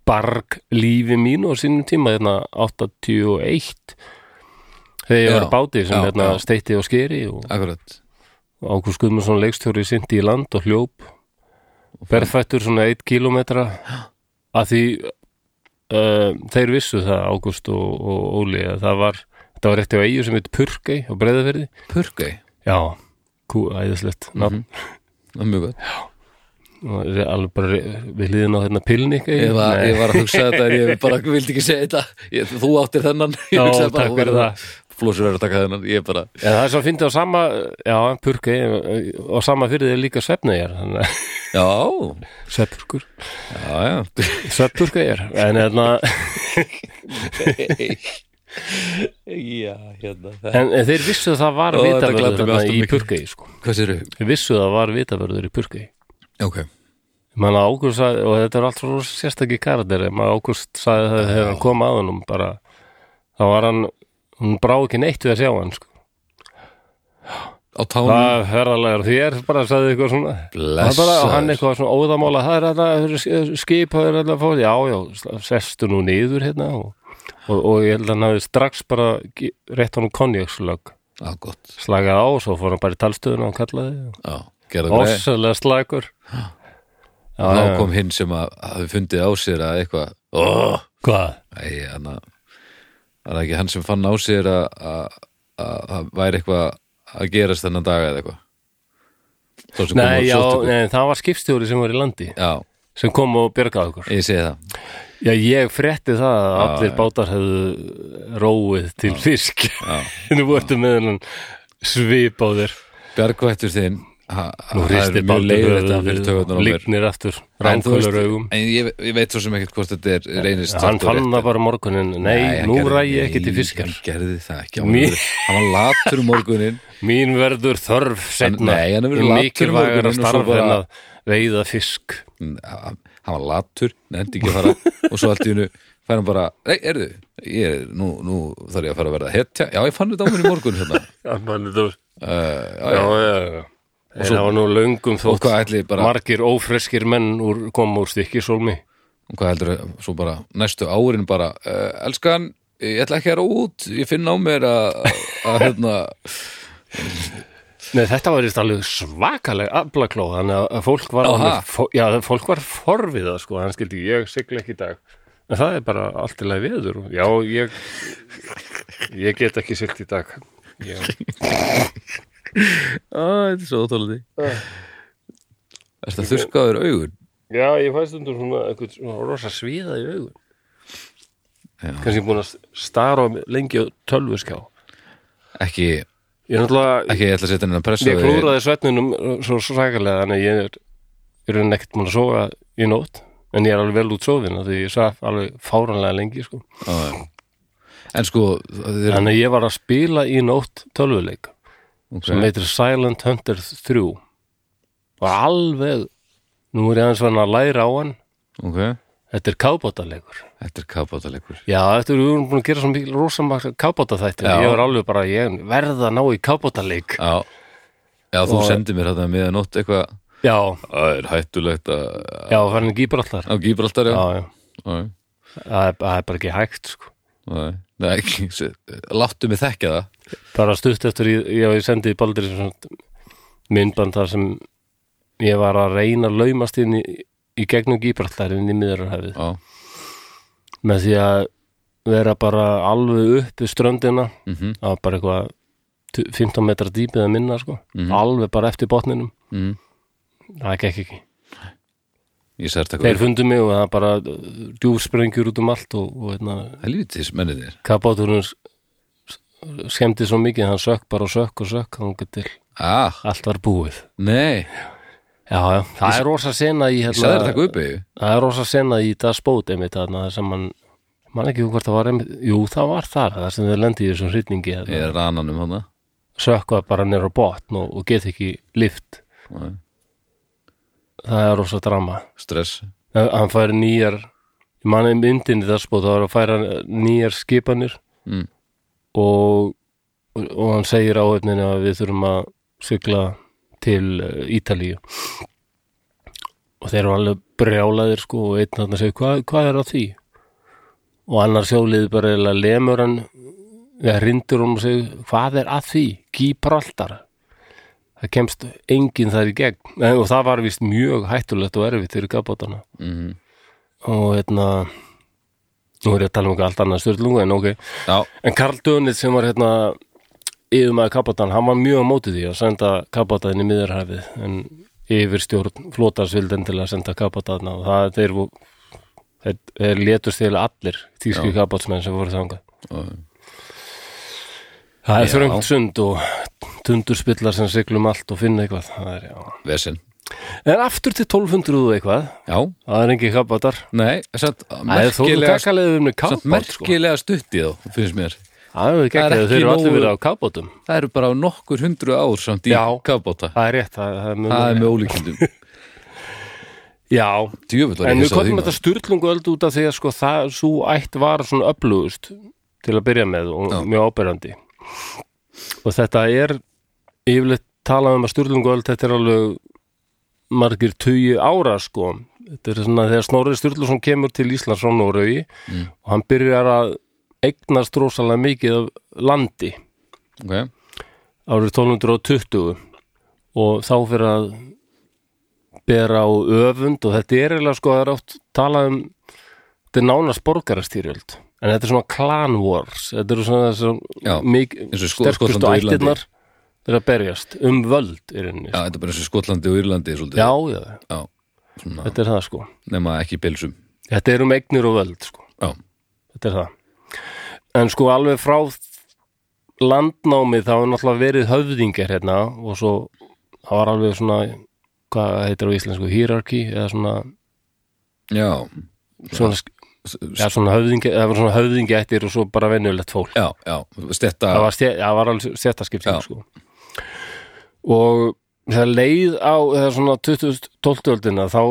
S1: barg lífi mínu á sínum tíma hérna 81 þegar ég
S2: Já,
S1: var á báti
S2: já,
S1: sem hérna
S2: já.
S1: steitti og skeri og
S2: akkurat
S1: Ágúst Guðmundsson leikstjóri sindi í land og hljóp berfættur svona 1 kilometra að því uh, þeir vissu það Ágúst og, og Óli að það var þetta var rétti á eigu sem heit Purkei á Breiðafirði
S2: Purkei,
S1: já, kú, æðislegt mm
S2: Mhm.
S1: -hmm.
S2: það er mjög gott
S1: alveg bara re- við hliðin á hérna pilnik
S2: ég var, ég var að hugsa þetta en ég bara vildi ekki segja þetta ég, Þú áttir þennan Ég
S1: Já,
S2: hugsaði bara,
S1: takk
S2: þú
S1: fyrir
S2: verður
S1: það.
S2: að- Flósur verður að taka þennan Ég bara,
S1: En það er svo að fyndi á sama, já, Purkei og sama fyrir þeir líka svefneyjar
S2: já,
S1: Svefnurkur
S2: já, já
S1: Svefnurkeijar, en hérna
S2: Já, hérna
S1: En en þeir vissu að það var
S2: Ó, þetta
S1: vitavörður
S2: gladdi mig
S1: þarna
S2: alltaf
S1: í
S2: mikið.
S1: Purkei sko.
S2: Hvað sér
S1: Þeir vissu að það var vitavörður í Purkei
S2: Ok,
S1: Man ágúst sagði, og þetta er alltaf rosa sérstakki karateri, maður ágúst sagði það þegar hann kom að honum bara þá var hann, hún brá ekki neitt við að sjá hann sko.
S2: á tánum
S1: Það er herralega þér, bara sagði eitthvað svona
S2: Blessaður.
S1: Það er bara, og hann eitthvað svona óðamála það er alltaf skip, það er alltaf fóð já, já, sestu nú niður hérna og, og, og ég held að hann hafi strax bara ge- rétt honum konjökslögg
S2: á gott,
S1: slagað á, svo fór hann bara í talstöðuna og hann kallaði,
S2: já, gerða greið
S1: ofsalega slagur Já, já,
S2: þá
S1: já.
S2: kom hinn sem að hafi fundið á sér að eitthvað oh,
S1: Hvað?
S2: ei, hann að það er ekki hann sem fann á sér að að- að það væri eitthvað að gerast þennan dag eða eitthvað Sá sem kom og
S1: Nei, já,
S2: sótti okkur.
S1: nei, það var skipstjóri sem var í landi
S2: já,
S1: sem kom og björgaði okkur
S2: ég segi það
S1: Já, ég frétti það að allir bátar hefðu róið til fisk Nú ertu með hennan svip á þér
S2: Bjargvættur þinn ha- það
S1: Nú
S2: er
S1: hristir
S2: mjög
S1: bátur
S2: leiðilegt að fyrir
S1: höfuðið
S2: tökunar
S1: og
S2: á mér
S1: líknir aftur
S2: En þú veist-
S1: ránkölur augum Eh,
S2: En ég, ég veit svo sem ekkert hvort þetta er reynist
S1: Hann
S2: satt og
S1: fann
S2: rétt.
S1: það bara morgunin Nei,
S2: hann
S1: nú
S2: gerði-
S1: ræði ég ekki til
S2: nei,
S1: fiskar
S2: Hann gerði það ekki Hann
S1: Mér-
S2: var- hann var latur um morgunin
S1: Mín verður þörf setna
S2: Nei, hann er verið latur
S1: mikilvægara
S2: morguninn og svo
S1: starf
S2: bara-
S1: en að veiða fisk
S2: Hann hann var latur, nefndi ekki að fara Og svo allt í hennu fær hann bara Nei, erðu, ég er, nú, nú þarf ég að fara að verða hetja Já, ég fann þetta á mér í morgun hérna
S1: Já, mann, þú
S2: uh, já,
S1: Já, já, já En það var nú löngum
S2: Og
S1: þótt
S2: hvað ætli bara
S1: margir ófreskir menn úr, koma úr stikkisólmi
S2: Og hvað heldur svo bara næstu árin bara uh, elskan, ég ætla ekki að ráða út ég finn á mér að að hérna,
S1: Nei, þetta var þetta alveg svakaleg aflaklóð, þannig að- að fólk var
S2: Aha.
S1: alveg, fó- já, það- fólk var forvið það, sko, hann skildi, ég sigla ekki í dag en það er bara allt í lagi veður og- já, ég ég get ekki siglt í dag já,
S2: Æ, þetta er svo óþólandi Ertu að þurrkaður augun?
S1: já ég fæst undur svona, einhvern svona rosa sviða í augun
S2: Já.
S1: kannski búin að stara á mig lengi á tölvuskjá
S2: Ekki,
S1: ég er náttúrulega,
S2: ekki ég ætla að setja henni að pressa
S1: ég klúraði svefninum svo svakalega, þannig að ég er ég er ekkert búin að sofa í nótt en ég er alveg vel út sofin, af því ég saf alveg fáranlega lengi, sko
S2: klúraði En sko, þeir,
S1: Þannig að ég var að spila í nótt tölvuleik sem
S2: okay.
S1: heitir Silent Hunter 3 og alveg nú er ég aðeins vann að læra á hann
S2: ok
S1: þetta er kábótaleikur
S2: Þetta er kappátalegur
S1: já, þetta er við vorum búin að gera svo mikil rosamakka kábótaþættir
S2: Já.
S1: ég var alveg bara, ég verð að ná í kábótaleik
S2: Já, já þú
S1: Og-
S2: sendir mér þetta með að nótt eitthvað
S1: já,
S2: Það er hættulegt að
S1: já, fann ekki íbrallar
S2: á Gíbraltar,
S1: já,
S2: já
S1: já,
S2: Já,
S1: það er, það er bara ekki hægt sko.
S2: já. Nei, ekki, se- láttu mig þekka það
S1: bara stutt eftir, ég, já, ég sendi Baldur myndband þar sem ég var að reyna að laumast inn í, í gegnum gíbrallar inn í miðurarhafið
S2: Já,
S1: með því að vera bara alveg upp við ströndina
S2: mhm
S1: það var bara eitthvað tu- 15 metra dýpið að minna sko alveg bara eftir botninum
S2: Mm.
S1: það gekk ekki
S2: Ég sér þetta
S1: þeir
S2: hvað
S1: fundu mig og það bara djúfsprengjur út um allt og, og hérna,
S2: Helvítis menninir
S1: kapáturinn s- skemmdi svo mikið hann sökk bara og sökk og sökk þannig til
S2: Ah,
S1: allt var búið
S2: nei,
S1: já, já, það er rosa sena í
S2: ég sagði þetta
S1: hérna,
S2: hvað uppi
S1: það er rosa sena í það spót einmitt þarna sem hann man ekki hvort það var einmitt, jú það var þar það sem þau lendi í þessum hrýtningi
S2: Ég er rananum hana
S1: sökvað bara nýra botn og, og get ekki lift
S2: Nei,
S1: það er rosa drama
S2: Stress
S1: En hann fær nýjar ég manna um myndinni þar spóð það var að færa nýjar skipanir
S2: Mm.
S1: og, og hann segir áhefninu að við þurfum að sigla til eh, Ítalíu og þeir eru alveg brjálaðir sko og einn þarna segir Hva, hvað er á því og annar sjóliði bara eiginlega lemur hann eða rindur hann og segir hvað er að því, Gíbraltar það kemst enginn þar í gegn Nei, og það var vist mjög hættulegt og erfitt fyrir gafbótana
S2: mm
S1: og hérna nú er ég að tala um eitthvað allt annað styrlungu en ok
S2: Já,
S1: en Karl Dönit sem var hérna yfirmaður kapatan, hann var mjög á móti því að senda kapataðin í miðurhæfið en yfirstjórn flótans vildi endilega senda kapataðin og það þeir, vo- þeir, þeir létust þeir allir tísku kapatsmenn sem voru þangað
S2: og,
S1: það er
S2: Já.
S1: þröngt sund og tundurspillar sem siglum allt og finna eitthvað það er, já.
S2: vesen
S1: en aftur til 1200 og eitthvað
S2: Já,
S1: það er engi kapatar
S2: nei, satt
S1: Það er þó
S2: merkilega,
S1: kakkalegið um
S2: satt
S1: kápát sko.
S2: merkilega stutt í þá, finnst mér
S1: Það er ekki
S2: Það er
S1: ekki,
S2: ekki
S1: þeir eru allir
S2: nógu-
S1: verið á kápátum
S2: Það eru bara nokkur hundru ár samt í
S1: Já.
S2: kafbóta
S1: Það er rétt, það, það er mjög
S2: Það er með ólíkindum
S1: Já,
S2: Djöfull var
S1: en
S2: ég
S1: við
S2: hissa á því
S1: komum þetta
S2: maður.
S1: styrlungu öld út af því að sko það svo ætt var svona upplugust til að byrja með og
S2: Já.
S1: mjög ábyrjandi og þetta er yfirleitt talað um að Sturlunguöld þetta er alveg margir tugi ára sko þetta er svona þegar Snorri Sturluson kemur til Íslands frá Noregi
S2: Mm.
S1: og hann byrjar að eignast rosalega mikið af landi sko-
S2: ok,
S1: árið 1220 og þá fyrir að bera á öfund og þetta er eiginlega sko það er oft talað um þetta er nánast borgarastýrjöld en þetta er svona clan wars þetta eru
S2: Já,
S1: svona þessum mikið
S2: eins og í Skot- Skotlandi
S1: sterkustu
S2: og Írlandi.
S1: ættirnar þeir að berjast um völd í rauninni
S2: já, þetta er bara eins og Skotlandi og Írlandi svolítið,
S1: já, já,
S2: já svona,
S1: þetta er það sko
S2: nema ekki bilsum
S1: þetta er um eignir og völd sko
S2: já,
S1: þetta er það en sko alveg frá landnámi þá er náttúrulega verið höfðingar hérna og svo það var alveg svona hvað heitir á íslensku, hierarchy eða svona,
S2: já,
S1: svona,
S2: S-
S1: ja, svona höfðingi það var svona höfðingi og svo bara venjulegt fólk
S2: já, já stetta,
S1: það var, stjæ, það var alveg
S2: Já.
S1: stjættaskipting sko. og það leið á það svona 2012 öldina þá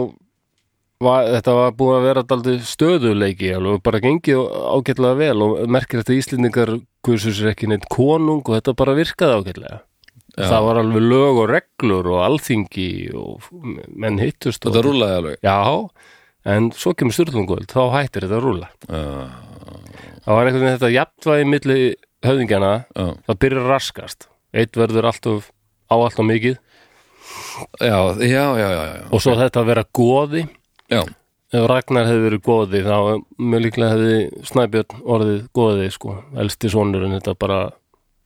S1: var, þetta var búið að vera daldi stöðuleiki alveg, bara gengið ágætlega vel og merkir þetta Íslendingar kursus er ekki neitt konung og þetta bara virkaði ágætlega
S2: Já.
S1: það var alveg lög og reglur og alþingi og menn hittust og,
S2: þetta rúlaði alveg
S1: já, en svo kemur styrlungöld þá hættir þetta að rúla
S2: já,
S1: það var einhvern veginn þetta jafnvægi milli höfðingjana
S2: já
S1: það byrjar að raskast eitt verður alltaf á alltaf mikið
S2: já, já, já, já, já.
S1: og svo þetta að vera goði
S2: já.
S1: ef Ragnar hefði verið goði þá mjög líklega hefði Snæbjörn orðið goði sko, elsti sonurinn þetta bara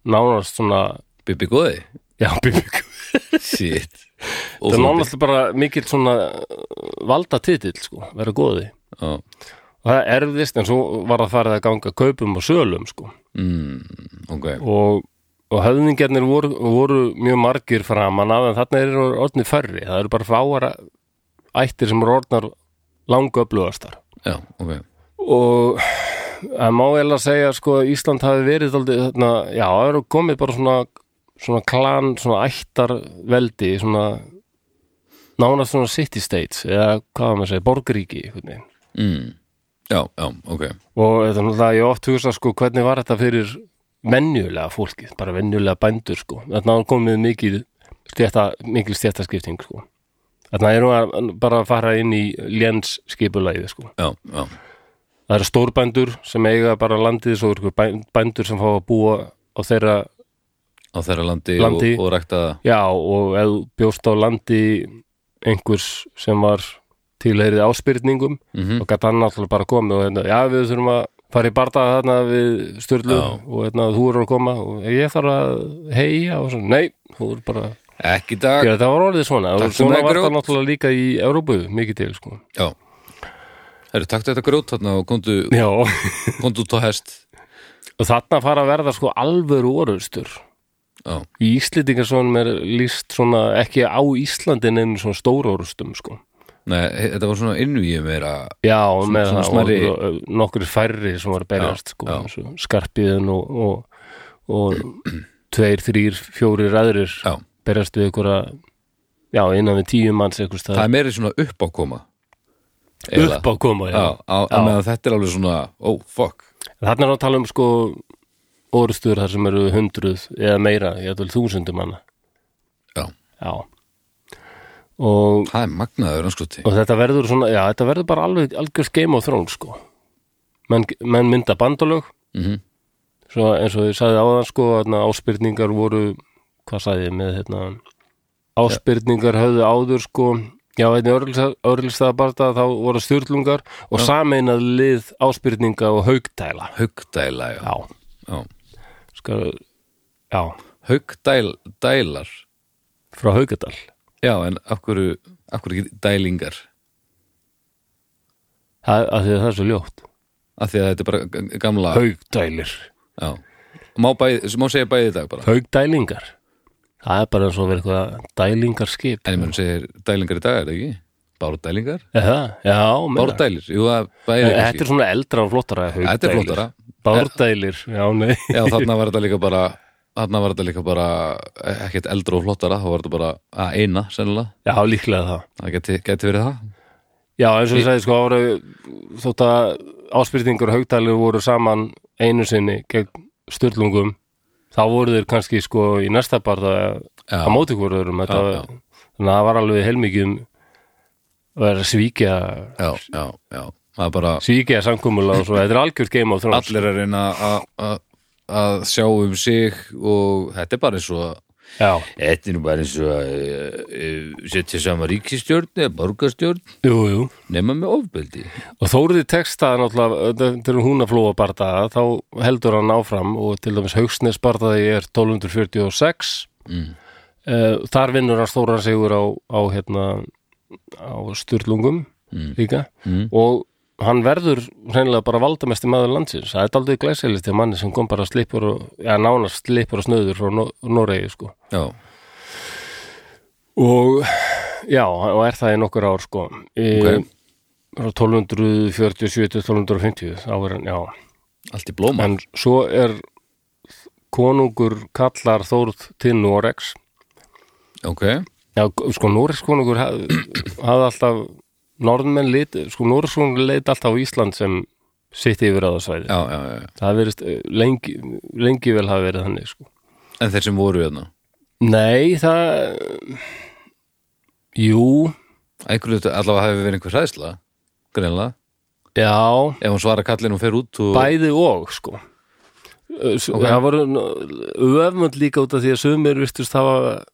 S1: nánast svona
S2: Bibi góði
S1: já, bíbík
S2: shit
S1: þetta er nánast bara mikill svona valda titill sko, vera goði
S2: já,
S1: og það erfðist en svo var það farið að ganga kaupum og sölum sko
S2: mm, ok,
S1: og, og höfðingjarnir voru, voru mjög margir framan af en þarna eru orðni færri, það eru bara fáara ættir sem eru orðnar langa upplöðastar
S2: já, ok
S1: og það má eiginlega segja sko að Ísland hafi verið aldrei, þarna, já, það eru komið bara svona svona klan, svona ættar veldi, svona nánast svona city states eða hvað á maður að segja, borgríki einhvern veginn
S2: mm. já, já, ok
S1: og þetta er náttúrulega, ég hef oft hugsa sko hvernig var þetta fyrir venjulega fólkið, bara venjulega bændur sko þarna var komið mikið stjæta, mikil stjættaskipting sko þarna erum við bara að fara inn í léns skipulæði sko
S2: já, já,
S1: það eru stórbændur sem eiga bara landið svo eru bæ- bændur sem fá að búa á þeirra,
S2: á þeirra landi,
S1: Landi.
S2: og, og rækta
S1: já og ef þú bjóst á landi einhvers sem var tilheyrið áspyrningum
S2: mm
S1: og gæti hann náttúrulega bara komið og hérna, já við þurfum að fara í bardaða þarna við styrlu
S2: Já.
S1: og hérna, þú eru að koma og ég þarf að heia og svona, nei, þú eru bara
S2: ekki í dag
S1: Já, það var orðið svona,
S2: Takk
S1: og
S2: fyrir
S1: svona
S2: það,
S1: var
S2: grjót.
S1: það náttúrulega líka í Európu, mikið til, sko
S2: já, það eru takt þetta grjót þarna og komdu,
S1: Já, og
S2: komdu út á hest
S1: þarna fara að verða sko alvöru orðustur
S2: já,
S1: í Íslendingar svona er líst svona ekki á Íslandi nefnir svona stóra orðustum, sko
S2: nei, he- þetta var svona innvíu meira
S1: Já, og með
S2: svona
S1: það
S2: smærri-
S1: og nokkur færri sem var að berjast sko,
S2: já.
S1: eins og skarpiðin og, og, og tveir, þrýr, fjórir aðrir
S2: Já.
S1: berjast við ykkur að já, innan við tíu manns ykkur
S2: það
S1: stað
S2: er meira svona uppákoma Eiginlega.
S1: upp á koma, já.
S2: já, á, á meðan þetta er alveg svona oh fuck,
S1: Þarna er að tala um sko orðstur þar sem eru hundruð eða meira, ég ætla þúsundum manna
S2: já,
S1: Já og,
S2: það er magnaður sko, anskoti
S1: og þetta verður svona, já, þetta verður bara alveg algjör skeim á þrón, sko menn, menn mynda bandalög
S2: mm
S1: svo eins og ég sagði áðan sko þarna, áspyrningar voru hvað sagði ég með hérna áspyrningar höfðu áður sko já, þetta örlista barða þá voru stjórlungar og sameinað lið áspyrninga og haugdæla
S2: haugdæla, já,
S1: já,
S2: já.
S1: skal já,
S2: haugdælar
S1: frá haugadal
S2: já, en af hverju, af hverju ekki dælingar
S1: það, af því að það er svo ljótt
S2: af því að þetta er bara g- gamla
S1: haugdælir,
S2: já. má, bæði, má segja bæði í dag bara
S1: haugdælingar það er bara eins og verið eitthvað dælingarskip
S2: en ég mun segja dælingar í dag, er það ekki? Bárdælingar?
S1: Eða, já, meina.
S2: Bárdælir, jú, það bæði
S1: þetta er svona eldra og flottara
S2: þetta er
S1: haugdælir.
S2: flottara
S1: Bárdælir, já, nei
S2: já, þarna var þetta líka bara þarna var þetta líka bara e, ekkert eldra og flottara, þá var þetta bara að eina, sennilega,
S1: Já, líklega það
S2: það geti, geti verið það
S1: Já, eins og ég sagði, sko, það voru þótt að áspyrtingur og haugdælir voru saman einu sinni gegn styrlungum þá voru þeir kannski sko í næsta bar það
S2: Já.
S1: að móti hvort öðrum þetta,
S2: Já, já.
S1: þannig að það var alveg heilmikið um að vera að svíkja
S2: já, já, já það er bara,
S1: svíkja samkomulega og svo, þetta er algjört game of thrones
S2: allir að reyna að- að- að sjá um sig og þetta er bara eins og að
S1: já,
S2: Þetta er nú bara eins og að e, e, setja saman ríkistjórn eða borgarstjórn
S1: jú, jú
S2: nema með ofbeldi.
S1: og Þóriði textaði náttúrulega til hún að flóa bardaða, þá heldur hann áfram og til dæmis Haugsnes bardaði er 1246
S2: Mm.
S1: Eh, þar vinnur hann stóran sigur á, á hérna á styrlungum líka
S2: Mm.
S1: og hann verður hreinlega bara valdamesti maður landsins það er aldrei glæsilist til manni sem kom bara slipur og, ja, nánast slipur og snöður frá Nó- Noregi sko
S2: Já,
S1: og já, og er það í nokkur ár sko e,
S2: Ok.
S1: frá 1247 til 1250 þá er hann, já,
S2: allt í blóma.
S1: en svo er konungur kallar Þórð til Noregs
S2: ok,
S1: já, sko Noregs konungur haf, hafði alltaf norðmenn lit, sko Noregs konungur leit alltaf á Ísland sem sitt yfir á það svæði
S2: já, já, já.
S1: það verist lengi, lengi vel hafa verið þannig sko
S2: En þeir sem voru hérna?
S1: nei, það jú,
S2: Einhverju þetta allavega hafi verið einhver hræðsla, greinlega.
S1: já
S2: Ef hún svarar kallinu og fer út og...
S1: bæði og sko okay. það voru öfmönd líka út af því að sömur vistust hafa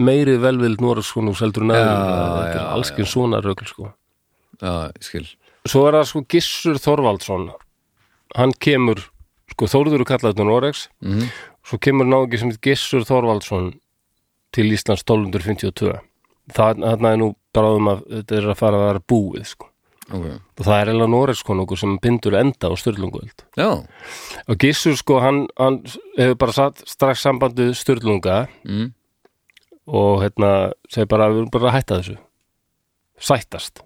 S1: meiri velvild Noregskonungs heldur en aður
S2: já,
S1: allskinn svona rögl sko
S2: Já, ég skil.
S1: svo er það sko Gissur Þorvaldsson hann kemur sko Þórður er kallað til Noregs
S2: Mm
S1: svo kemur náungi sem heit Gissur Þorvaldsson til Íslands 1252 það þarna er nú bráðum að þetta er að fara að vera búið sko
S2: Ok.
S1: og það er eiginlega Noregskonungur sem bindur enda á Sturlungöld
S2: Já,
S1: Og Gissur sko, hann, hann hefur bara satt strax sambandið Sturlunga
S2: mm.
S1: og hérna, segir bara, við erum bara að hætta þessu. Sættast.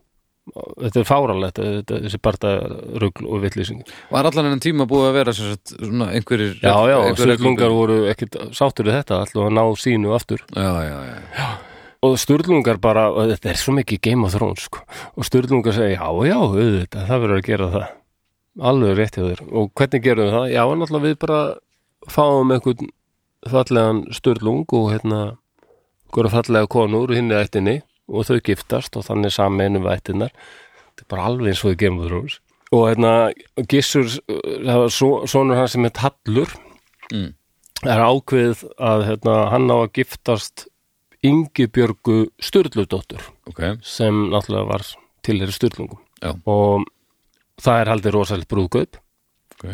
S1: Þetta er fáralegt, þetta, þessi barða rugl og vittlýsing.
S2: var allan enn tíma búið að vera sem sagt, svona einhverjir...
S1: Já, já,
S2: einhverjir-
S1: Sturlungar voru ekkit sáttur við þetta, alltaf að ná sínu aftur.
S2: Já, já, já.
S1: Og Sturlungar bara, og þetta er svo mikið Game of Thrones, sko. Og Sturlungar segir, já, já, auðvitað, það verður að gera það. Alveg rétt hjá þér. Og hvernig gerum við það? Já, náttúrulega við bara fáum einhvern fallegan Sturlung og hérna einhverja fallega konur hinn í ættinni og þau giftast og þannig saman einum ættinnar. Þetta er bara alveg eins og við Game of Thrones. Og hérna Gissur, uh, það var svo, sonur hann sem heit Hallur,
S2: Mm.
S1: er ákveðið að hérna, hann á að giftast Ingibjörgu Sturludóttur
S2: Ok,
S1: sem náttúrulega var tilheri Sturlungum
S2: já,
S1: og það er haldið rosalegt brúðkaup
S2: ok.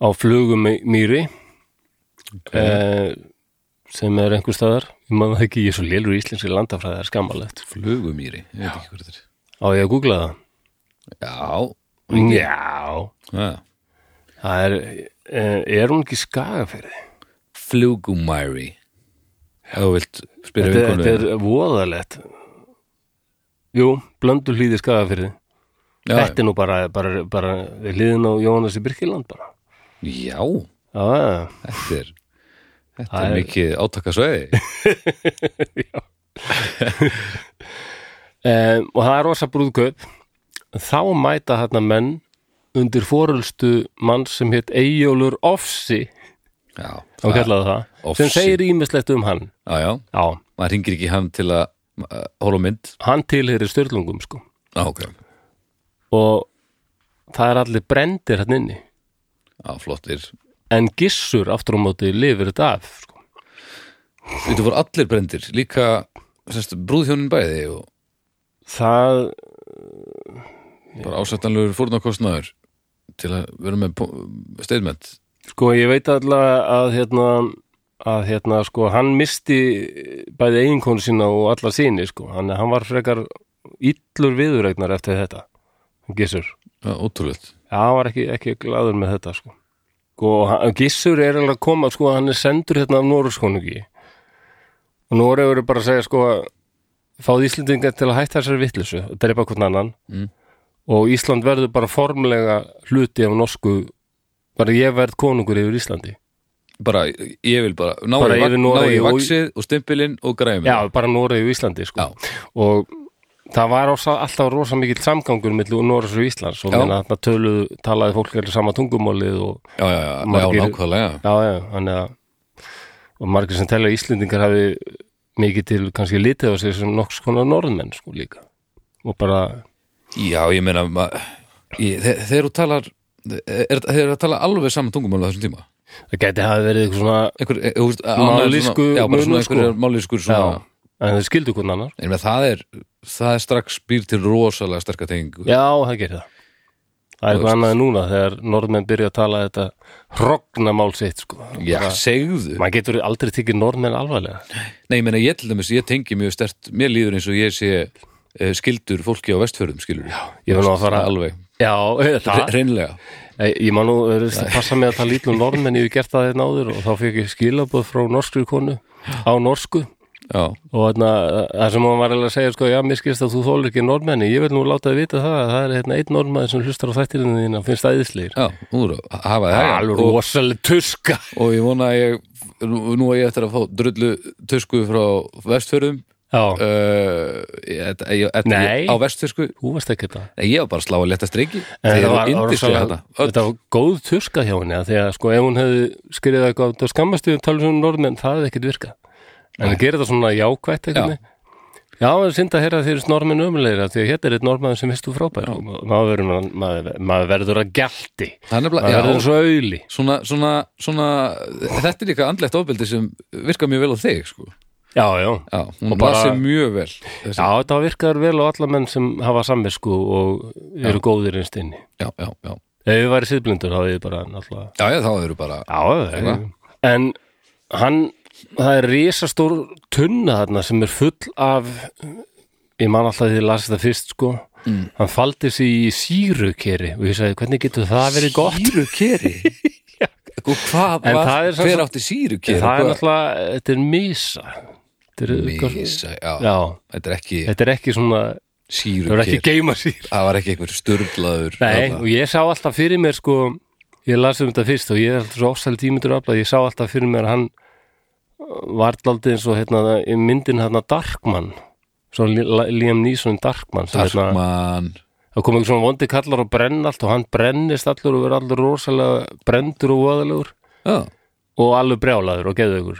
S1: á flugumýri okay. eh, sem er einhver staðar ég maður það ekki, ég er svo lélur í íslenski landafræði það er skammalegt,
S2: Flugumýri, ég veit ekki hvað þetta er.
S1: á ég að googla það
S2: Já, Mm.
S1: já,
S2: já.
S1: það er eh, er hún ekki í skagafyrði
S2: Flugumæri Ef þú vilt spyrja
S1: þetta,
S2: vinkonu
S1: þetta er voðalegt jú, blöndu hlýði skagafyrði þetta er nú bara, bara, bara við hliðin á Jónasi Birkiland bara
S2: Já,
S1: já, já, já
S2: þetta er Þetta
S1: Það
S2: er
S1: er-
S2: mikið átakasvæði
S1: um, og það er rosa brúðkaup þá mæta þarna menn undir forulstu mann sem hétt Eyjólfur Ofsi
S2: Já,
S1: þá kallaði það,
S2: Ofsi.
S1: sem segir ímislegt um hann
S2: já, já,
S1: já,
S2: maður hringir ekki í hann til að uh, hóla mynd
S1: hann tilheyri styrlungum sko
S2: Já, ok,
S1: og það er allir brendir hann inni
S2: já, flottir
S1: en gissur aftur á móti lifir þetta af sko.
S2: Þetta voru allir brendir, líka sérst, brúðhjónin bæði og
S1: það,
S2: bara ásættanlegur fórnarkostnaður til að vera með po- statement
S1: sko ég veit allavega að hérna að hérna sko hann misti bæði eiginkonu sína og alla síni sko hann, hann var frekar illur viðuregnar eftir þetta Gissur,
S2: Já, ótrúlegt
S1: já hann var ekki, ekki gladur með þetta sko sko hann- Gissur er alveg að koma sko hann er sendur hérna af Noruskonungi og Noregur er bara að segja sko fáð Íslendingar til að hætta þessari vittlisu og drepa hvern annan
S2: Mm.
S1: og Ísland verður bara formlega hluti af norsku bara ég verð konungur yfir Íslandi
S2: Bara, ég vil bara ná
S1: Bara
S2: í, vag-
S1: yfir
S2: ná
S1: Noregi
S2: í
S1: og-
S2: vaksið og stimpilinn og græmi
S1: Já, bara Noregi og Íslandi sko.
S2: Já.
S1: og það var ása, alltaf rosa mikill samgangur millu Norris og Íslands og
S2: Já.
S1: minna, þarna töluðu, talaði fólk allir sama tungumálið og
S2: já, já, já,
S1: Margir-
S2: já nákvæmlega
S1: Já, já, þannig að og margir sem telja að Íslendingar hafi mikið til kannski litið á sig sem nokks konar norðmenn sko líka og bara,
S2: Já, ég meina ma, ég, þe þegar þú talar er, þeir eru að tala alveg saman tungumál á þessum tíma
S1: það gæti hafi verið eitthvað svona
S2: einhver, e, úst,
S1: Mállýsku
S2: já, bara svona
S1: munur, sko.
S2: einhverjar mállýskur
S1: já,
S2: svona,
S1: en þau skildu hvernig annar
S2: en með það er það er strax býr til rosalega sterka tengingu
S1: Já, það gerir það Það er
S2: veist.
S1: eitthvað annað en núna þegar norðmenn byrja að tala þetta hrognamál sitt sko
S2: já
S1: Bara-
S2: segðu
S1: Maður getur aldrei tekið norðmenn alvarlega
S2: Nei, ég meina, ég til dæmis, ég tengi mjög stert mér líður eins og ég sé eh, skildur fólki á vestfjörðum, skilur Já,
S1: Ég vil nú að fara
S2: alveg,
S1: Já, það
S2: reynlega
S1: Ég, ég man nú, þú veist, að passa mig að tala lítið um norðmenn, ég hef gert það þeirna áður og þá fekk ég skilabóð frá norskri konu á norsku
S2: Já,
S1: og þarna, það sem hún var eiginlega að segja, sko, já, mér skilst að þú þólar ekki norðmenni, ég vil nú láta þið vita það, að það er hérna einn norðmenn sem hlustar á þættirinn þín og finnst æðislegir.
S2: já, nú er að hafa það já.
S1: Alveg
S2: og,
S1: rosaleg tuska.
S2: og ég vona að ég, nú nú að ég eftir að fá drullu tusku frá vestfjörðum
S1: Já,
S2: uh, ég, þetta- ég, þetta-
S1: Nei.
S2: ég, á vestfjörsku
S1: þú varst ekki þetta.
S2: Nei, ég var bara að slá að leta streiki Þeir
S1: En þetta
S2: eru
S1: var, var,
S2: yndislega
S1: rosalega-
S2: þetta
S1: hérna. þetta var góð tuska hjá henni, af því að sko, ef hún hefði skriðið eitthvað, það skammast við um tala um norðmenn, það hefði ekkert virkað. En það gerir það svona jákvætt eitthvað. Já, það er synd að heyra þeir norðmenn ömulegir, af því að hérna er eitt norðmenn sem vistu frábær. Og Maður verður, maður, maður verður að gælti.
S2: Það er
S1: Maður
S2: nefnilega,
S1: verður
S2: já,
S1: eins og auðli.
S2: svona, svona, svona þetta er líka andlegt ofbeldi sem virkar mjög vel á þig, sko
S1: Já, já.
S2: Já, hún
S1: Og bara-
S2: bara, mjög vel þessi
S1: Já, þetta virkar vel á alla menn sem hafa samvisku og eru góðir einst inni.
S2: já, já, já.
S1: Ef við væri síðblindur, þá hefði ég bara náttúrulega
S2: já, já, þá eru bara
S1: Já, það er
S2: Eitthvað?
S1: En hann, það er risastór tunna þarna sem er full af ég man alltaf því að ég las þetta fyrst sko mm. hann faldi sig í sírukeri og ég sagði, hvernig getur það verið gott?
S2: Sýrukeri? og hvað
S1: En
S2: var,
S1: það er svo-
S2: hver átti sýrukeri?
S1: það er
S2: Hvað-
S1: náttúrulega, þetta er misa Þetta er,
S2: Mísa, já,
S1: Já,
S2: þetta er ekki
S1: þetta er ekki svona það er
S2: sýrukeri
S1: ekki geima sír
S2: Það var ekki einhver sturglaður
S1: Nei, og ég sá alltaf fyrir mér sko ég las um þetta fyrst og ég er alltaf svo ofsæli tímyndur afla, ég sá alltaf fyrir mér að hann var daldið eins og hérna, í myndin hérna Darkman svo Li- La- Liam Neeson í Darkman sem hérna,
S2: Darkman
S1: það kom einhver svona vondi kallar og brenn allt og hann brennist allur og verður allur rosalega brendur og voðalegur
S2: Já,
S1: og alveg brjálaður og geðugur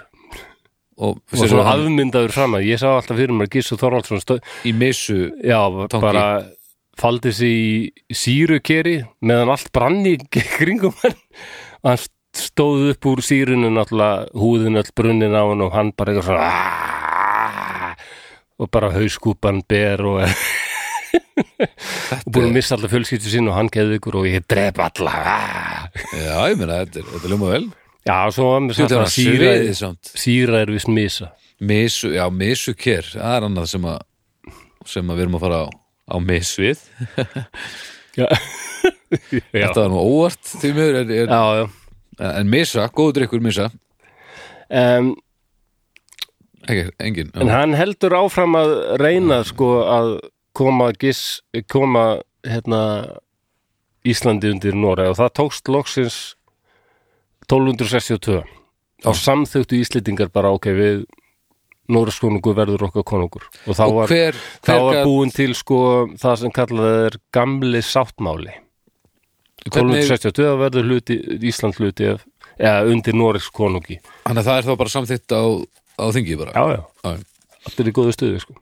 S2: og,
S1: og
S2: svo
S1: svona afmyndaður fram að ég sá alltaf fyrir mér að Gissur Þorvaldsson stöð,
S2: í missu
S1: já,
S2: Tangi.
S1: bara faldi sig í sírukeri meðan allt brann í kringum hann og hann stóð upp úr sírunum náttúrulega húðin öll brunnin á hann og hann bara eitthvað svona "Aah!" og bara hauskúpan ber og, og búin að missa allar fjölskyldu sín og hann keði ykkur og ég drep alla Aah!
S2: Já, ég meina, þetta, er- þetta ljóma vel
S1: já, svo var mér
S2: Þú
S1: sagt
S2: þetta
S1: að
S2: var
S1: síra,
S2: sýrið samt
S1: síra er vist misa
S2: Missu, já, missuker Það er annað sem að sem að við erum að fara á, á missvið
S1: já, já,
S2: Þetta var nú óvart því miður er, er,
S1: já, já.
S2: En missa, góður drikkur missa
S1: Um,
S2: Ekki, engin
S1: En hann heldur áfram að reyna sko að koma giss, koma hérna Íslandi undir Noreg og það tókst loksins 1262 þá samþögtu Íslendingar bara ok við Noregskonungur verður okkar konungur og þá
S2: og
S1: var,
S2: hver,
S1: þá
S2: hver
S1: var
S2: gat-
S1: búin til sko það sem kallað er gamli sáttmáli
S2: hvernig,
S1: 1262 verður hluti, Ísland hluti af, eða undir Noregs konungi
S2: þannig að það er þá bara samþytt á, á þingi bara
S1: já já
S2: Já,
S1: allir í góðu stuði sko.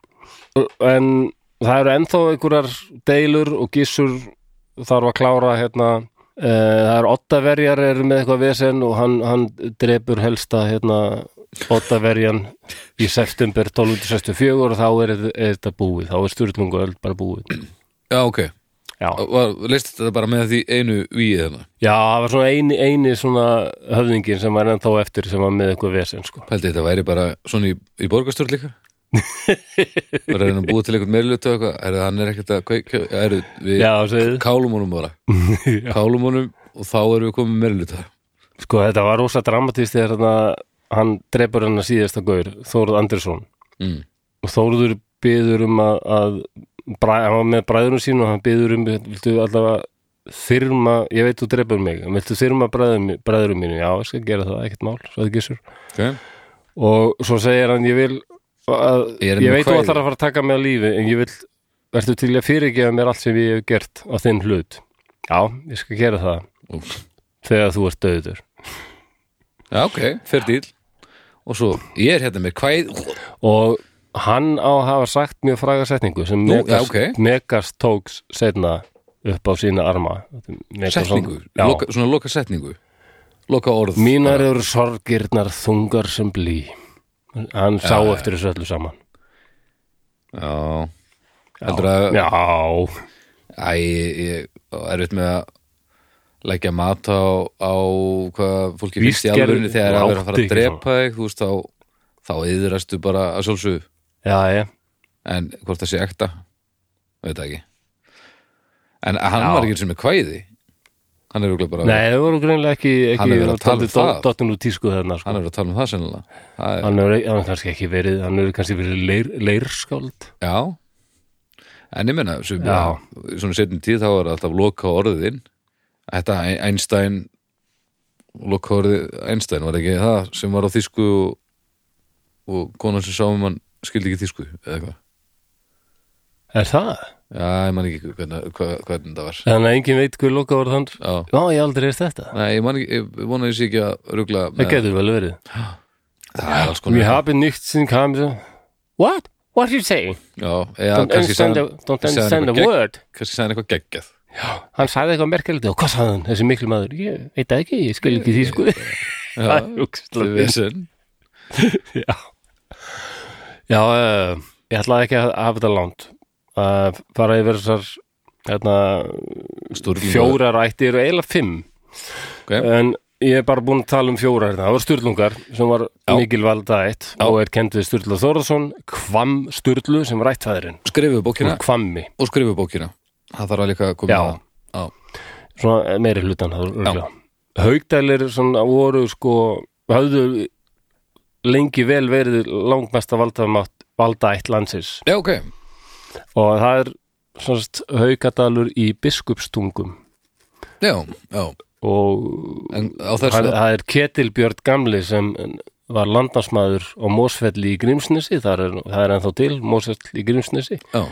S1: en það eru ennþá einhverjar deilur og gissur þarf að klára hérna e, það er ottaverjar er með eitthvað vesen og hann, hann drepur helsta hérna ottaverjan í september 1264 og þá er, þe- er þetta búið þá er styrlungu öll bara búið
S2: já ok,
S1: já,
S2: var, leist þetta bara með því einu hérna? víið þarna,
S1: já það var svona eini, eini svona höfðingin sem var ennþá eftir sem var með eitthvað vesen sko.
S2: pældi þetta væri bara svona í, í borgarstjórn líka bara er hann búið til einhvern meirlutu eitthvað, er hann er ekkert að kveik, er, við
S1: já, segið
S2: kálum honum bara
S1: Já.
S2: kálum honum og þá erum við komið meirlutu
S1: Sko þetta var rosa dramatist þegar hann, hann drepur hennar síðasta gaur, Þórð Andersson
S2: mm.
S1: og Þórður byður um að, að bræ, hann var með bræðurum sín og hann byður um, viltu allavega þyrma, ég veit þú drepur mig en viltu þyrma bræðurum, bræðurum mínu já, ég skal gera það, ekkert mál, svo það gissur
S2: okay.
S1: og svo segir hann, ég vil að,
S2: Ég er
S1: ég,
S2: með
S1: veit þú
S2: kvæði.
S1: ætlar að fara að taka mig að lífi en ég vil verður til að fyrirgefa mér allt sem ég hef gert á þinn hlut já, ég skal gera það
S2: Úf.
S1: þegar þú ert döður
S2: Já, ok, fyrir dýl Og svo, ég er hérna með kvæð
S1: og hann á að hafa sagt mjög fræga setningu sem
S2: Nú,
S1: Megas,
S2: já, ok.
S1: Megas tóks setna upp á sína arma Þetta er Megas-
S2: Setningu,
S1: já,
S2: loka, svona loka setningu Loka orð
S1: mínar eru sorgirnar þungar sem blí hann sá eftir þessu öllu saman
S2: Já, heldur að
S1: já,
S2: Æ, ég er veit með að leggja mat á, á hvað fólki finnst í
S1: Víst gerðu-
S2: alvörinu þegar að vera að fara að
S1: átti ekki
S2: drepa þig, þú veist, þá þá yðrastu bara að sjálfsögðu
S1: já, já
S2: en hvort það sé ekta veit það ekki en hann
S1: Já.
S2: var ekki sem er kvæði hann er örugglega bara
S1: Nei, það voru greinlega ekki,
S2: Hann
S1: ekki
S2: hefur verið að tala um það.
S1: Dottin úr tísku þarna sko.
S2: hann er að tala um það sennilega það er,
S1: Hann hefur hann hefur kannski ekki verið Hann hefur kannski verið leir, leirskáld
S2: já en ég menna sem,
S1: Já.
S2: svona setjum tíð þá er alltaf loka orðin þetta Einstein loka orðið Einstein var ekki það sem var á þýsku og, og konan sem sá um hann skildi ekki þýsku eða hvað
S1: Er það?
S2: já, ég man ekki hvernig, hvernig, hvernig það var
S1: Þannig að enginn veit hver loka voru þann
S2: já
S1: Já, ég hef aldrei veist þetta
S2: Nei, ég, man ekki, ég vona að ég sé ekki að rugla
S1: Það getur vel verið
S2: það er alls konar
S1: We have been nicht sin kamsa What? What are you saying?
S2: Já, já,
S1: Don't
S2: kannski
S1: understand,
S2: sagði
S1: the,
S2: hann-
S1: don't
S2: sagði hann
S1: understand the
S2: eitthvað gegn-
S1: word
S2: kannski sagði hann eitthvað geggjað
S1: Hann sagði eitthvað merkilegt og hvað sagði hann? Þessi miklu maður, ég veit það ekki, ég skil ekki því sko Það er
S2: Til
S1: hugslega
S2: vesen.
S1: Já, já uh, ég ætlaði ekki að hafa þetta langt að fara yfir þessar hérna,
S2: Sturlunga.
S1: fjórar ættir og eiginlega fimm
S2: Ok.
S1: en ég er bara búin að tala um fjórar hérna. það voru Sturlungar sem var
S2: Já.
S1: mikilvalda ætt og er kennt við Sturla Þórðarsson Kvam Sturlu sem var ættfæðurinn
S2: Skrifu bókina
S1: og Kvammi,
S2: og skrifu bókina Það þarf að líka að koma
S1: Já.
S2: að- Já,
S1: svona eh, meiri hlutan Haugdælir svona voru sko, höfðu lengi vel verið langmesta valdamátt valda ætt landsins
S2: já ok
S1: og það er svonst haukadalur í biskupstungum
S2: Já, já
S1: og
S2: En á þessu
S1: það, það er Ketilbjörn Gamli sem var landnámsmaður á Mósfelli í Grímsnesi það er, það er ennþá til, Mósfell í Grímsnesi
S2: Já,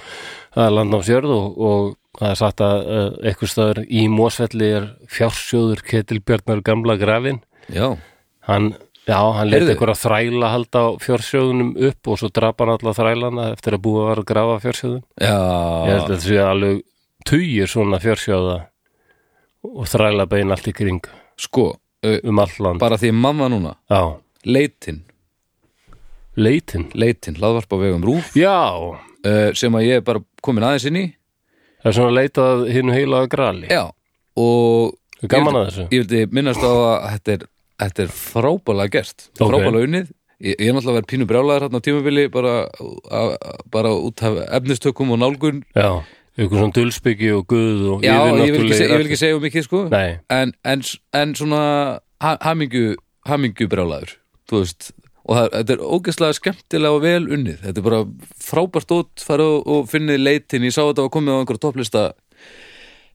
S1: það er landnámsjörð og, og það er sagt að uh, eitthvað staðar í Mósfelli er fjársjóður Ketilbjörnar gamla grafin
S2: já,
S1: hann, já, hann leti
S2: Heyrðu.
S1: eitthvað þræla halda á fjársjóðunum upp og svo drapa hann alla þrælana eftir að búið var að grafa fjársjóðun
S2: já
S1: Ég
S2: Ah.
S1: held að þetta sé alveg tugir svona fjársjóða og þræla bein allt í kring
S2: Sko, uh,
S1: um allt land.
S2: bara því mamma núna
S1: Já,
S2: Leitin,
S1: leitin.
S2: leitin, laðvarp á vegum rúf
S1: Já,
S2: uh, sem að ég er bara komin aðeins inn í
S1: það er svona leitað hinn heilaga grali.
S2: Já, og
S1: Gaman að þessu.
S2: ég vildi minnast á að þetta er, þetta er frábælega gert
S1: Ok.
S2: frábælega unnið ég, ég er náttúrulega að vera pínu brjálæður hérna á tímabili bara, a, a, bara út af efnistökum og nálgun
S1: Já, ykkur svona dulsbyggi og guð og
S2: já, ég vil, ekki, se- ég vil
S1: yfirnáttúrulegir
S2: ekki segja um mikið sko
S1: allir. Nei,
S2: en, en, s- en svona ha, hamingju, hamingju brjálæður þú veist og það, þetta er ógeðslega skemmtilega og vel unnið þetta er bara frábært út fara og, og finnið leitin, ég sá þetta var komið á einhverja topplista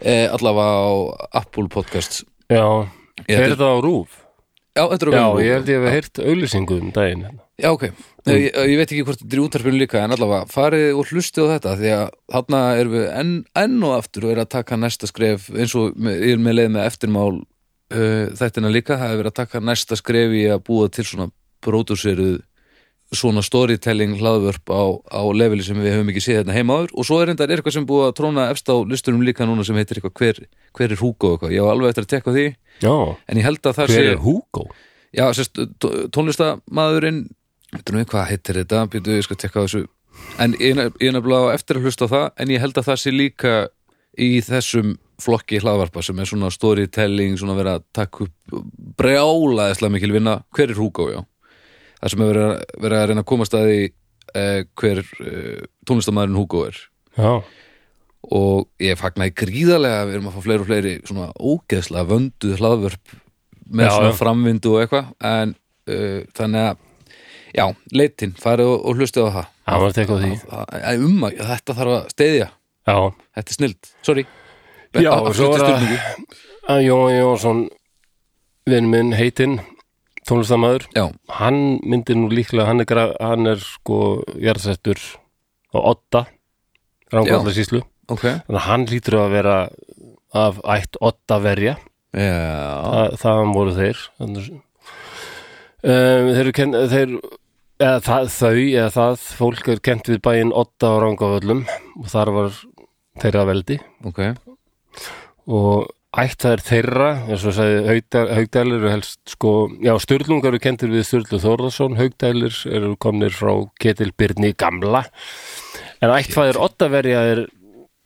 S2: eh, allavega á Apple Podcasts
S1: já,
S2: Ég
S1: er
S2: held-
S1: þetta á rúf?
S2: Já, þetta er á
S1: Já,
S2: vefnum.
S1: ég held ég hef heyrt auglýsingu um daginn.
S2: Já, ok. Ég, ég, ég veit ekki hvort þetta er í útarpinu líka en allavega farið og hlustið á þetta því að þarna erum við enn, enn og aftur og er að taka næsta skref eins og með, ég er með leið með eftirmál uh, þættina líka, það er verið að taka næsta skref í að búa til svona pródúseruð svona storytelling hlaðvörp á, á leveli sem við höfum ekki séð hérna heima áður og svo er enda er eitthvað sem búið að tróna efst á listunum líka núna sem heitir eitthvað hver, hver er Hugo og eitthvað, ég á alveg eftir að tekka því
S1: Já,
S2: en ég held að það
S1: hver
S2: sé
S1: er Hugo?
S2: Já, sérst, tó- tónlistamaðurinn Þetta nú, hvað heitir þetta? Býtu, ég skal tekka á þessu En ég nef- ég er nefnilega á eftir að hlusta á það En ég held að það sé líka í þessum flokki hlaðvarpa sem er svona storytelling, svona verið að taka upp brjálaðislega mikil vinna Hver er Hugo, já? Það sem er verið að, verið að reyna að komast að því eh, hver eh, tónlistamaðurinn Hugo er
S1: Já,
S2: og ég fagnaði gríðarlega að við erum að fá fleiri og fleiri svona ógeðslega vönduð hlaðvörp með
S1: Já,
S2: svona
S1: já.
S2: framvindu og eitthvað en uh, þannig að já, leitin, farið og, og hlustið á það
S1: það var tekað því.
S2: Það- að um að þetta þarf að steyðja
S1: Já,
S2: þetta er snild, sorry
S1: Já,
S2: Aftur
S1: svo
S2: til
S1: er að-
S2: spurningu.
S1: að Jóhann Jónsson, vinn minn heitinn, tónlistamæður,
S2: já,
S1: hann myndir nú líklega hann er, gra- hann er sko jarðsettur á Otta ránkvæðlega síslu
S2: Ok
S1: þannig að hann lítur að vera af ætt ottaverja
S2: Já,
S1: Þa, þaðan voru þeir Þannig- um, þeir, eru kenn, þeir eða, það, þau eða það fólk er kent við bæinn Otta og Rangavöllum og þar var þeirra veldi
S2: ok
S1: og ætt það er þeirra eins og sagði Haugdæl- haugdælir eru helst sko, já Sturlungar eru kentir við Sturlu Þórðarsson, haugdælir eru komnir frá Ketil Byrni gamla en ættfæðir Ottaverja er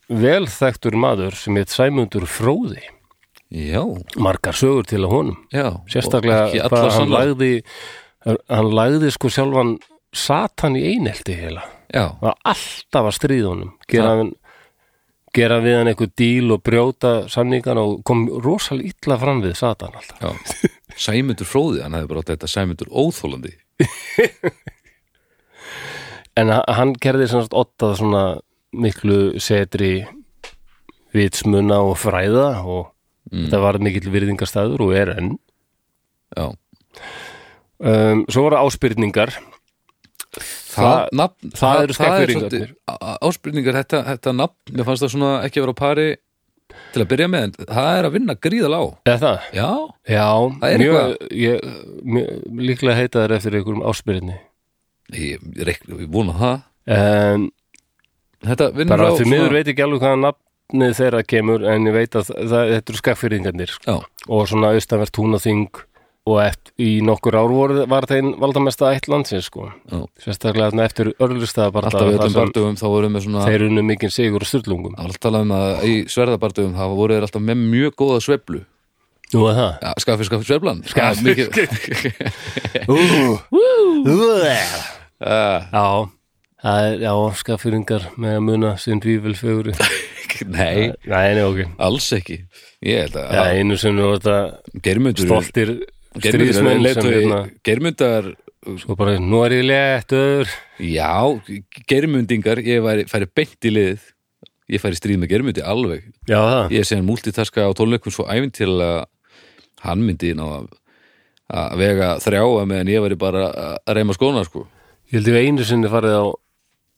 S1: vel þekktur maður sem heit Sæmundur Fróði
S2: Já,
S1: margar sögur til að honum
S2: já Og Ekki
S1: sérstaklega
S2: alla
S1: bara hann
S2: sannlega
S1: lagði hann lagði sko sjálfan satan í einelti heila
S2: Já,
S1: Það var alltaf að stríða honum gera, hann, gera við hann einhver díl og brjóta samningana og kom rosalega illa fram við Satan alltaf
S2: já Sæmundur fróði, hann hefði bara átt þetta Sæmundur óþólandi
S1: en h- hann gerði sem sagt ottað svona miklu setri vitsmuna og fræða og
S2: Mm.
S1: þetta var mikill virðingastæður og er enn
S2: Já,
S1: um, svo voru áspyrningar
S2: það, nafn,
S1: það eru Skagfirðingarnir.
S2: svolítið- á- á- Áspurningar, þetta, þetta nafn Mér fannst það svona ekki að vera á pari Til að byrja með, en það er að vinna gríðal á
S1: eða það?
S2: Já,
S1: Já,
S2: Það er
S1: mjög, ég, mjög, líklega heita þær eftir einhverjum áspyrni
S2: ég, ég, reik- ég vona það
S1: um,
S2: Þetta vinnur
S1: bara
S2: á
S1: því
S2: svona-
S1: miður veit ekki alveg hvaða nafnið þeirra kemur en ég veit að það, þetta eru skaffyrðingarnir
S2: Já,
S1: og svona austanvert húnaþing og eft, í nokkur ár voru, var þeim valdamesta ætt landsins sko
S2: já
S1: sérstaklega þarna eftir örlustæðabarta
S2: Alltaf í öllum bardugum þá vorum við svona
S1: þeir unnu mikinn sigur og styrlungum
S2: Það var alltaf talað um að í sverðabardugum það voru þeir alltaf með mjög góða sveflu
S1: Nú að það
S2: ja, Skaffi, skaffi, sveflan Skaffi, skaffi
S1: Já, það er, já, skaffyrðingar með að muna sinn vível feguri
S2: Nei,
S1: Nei, nei, ok
S2: alls ekki Ég held
S1: Já,
S2: að
S1: einu sem við þetta
S2: Geirmundur
S1: stoltir
S2: Geirmundur
S1: stríðsmenn sem hérna
S2: Geirmundar
S1: og Sko, bara, nú er ég léttur
S2: Já, geirmundingar Ég væri, færi beint í liðið Ég færi í stríð með geirmundi alveg
S1: Já, það
S2: Ég er sem múltitaska á tónleikum svo æfint til að hann myndi ná að að vega þrjáa meðan ég væri bara að reyma skóna sko
S1: Ég held ég hafi einu sinni farið á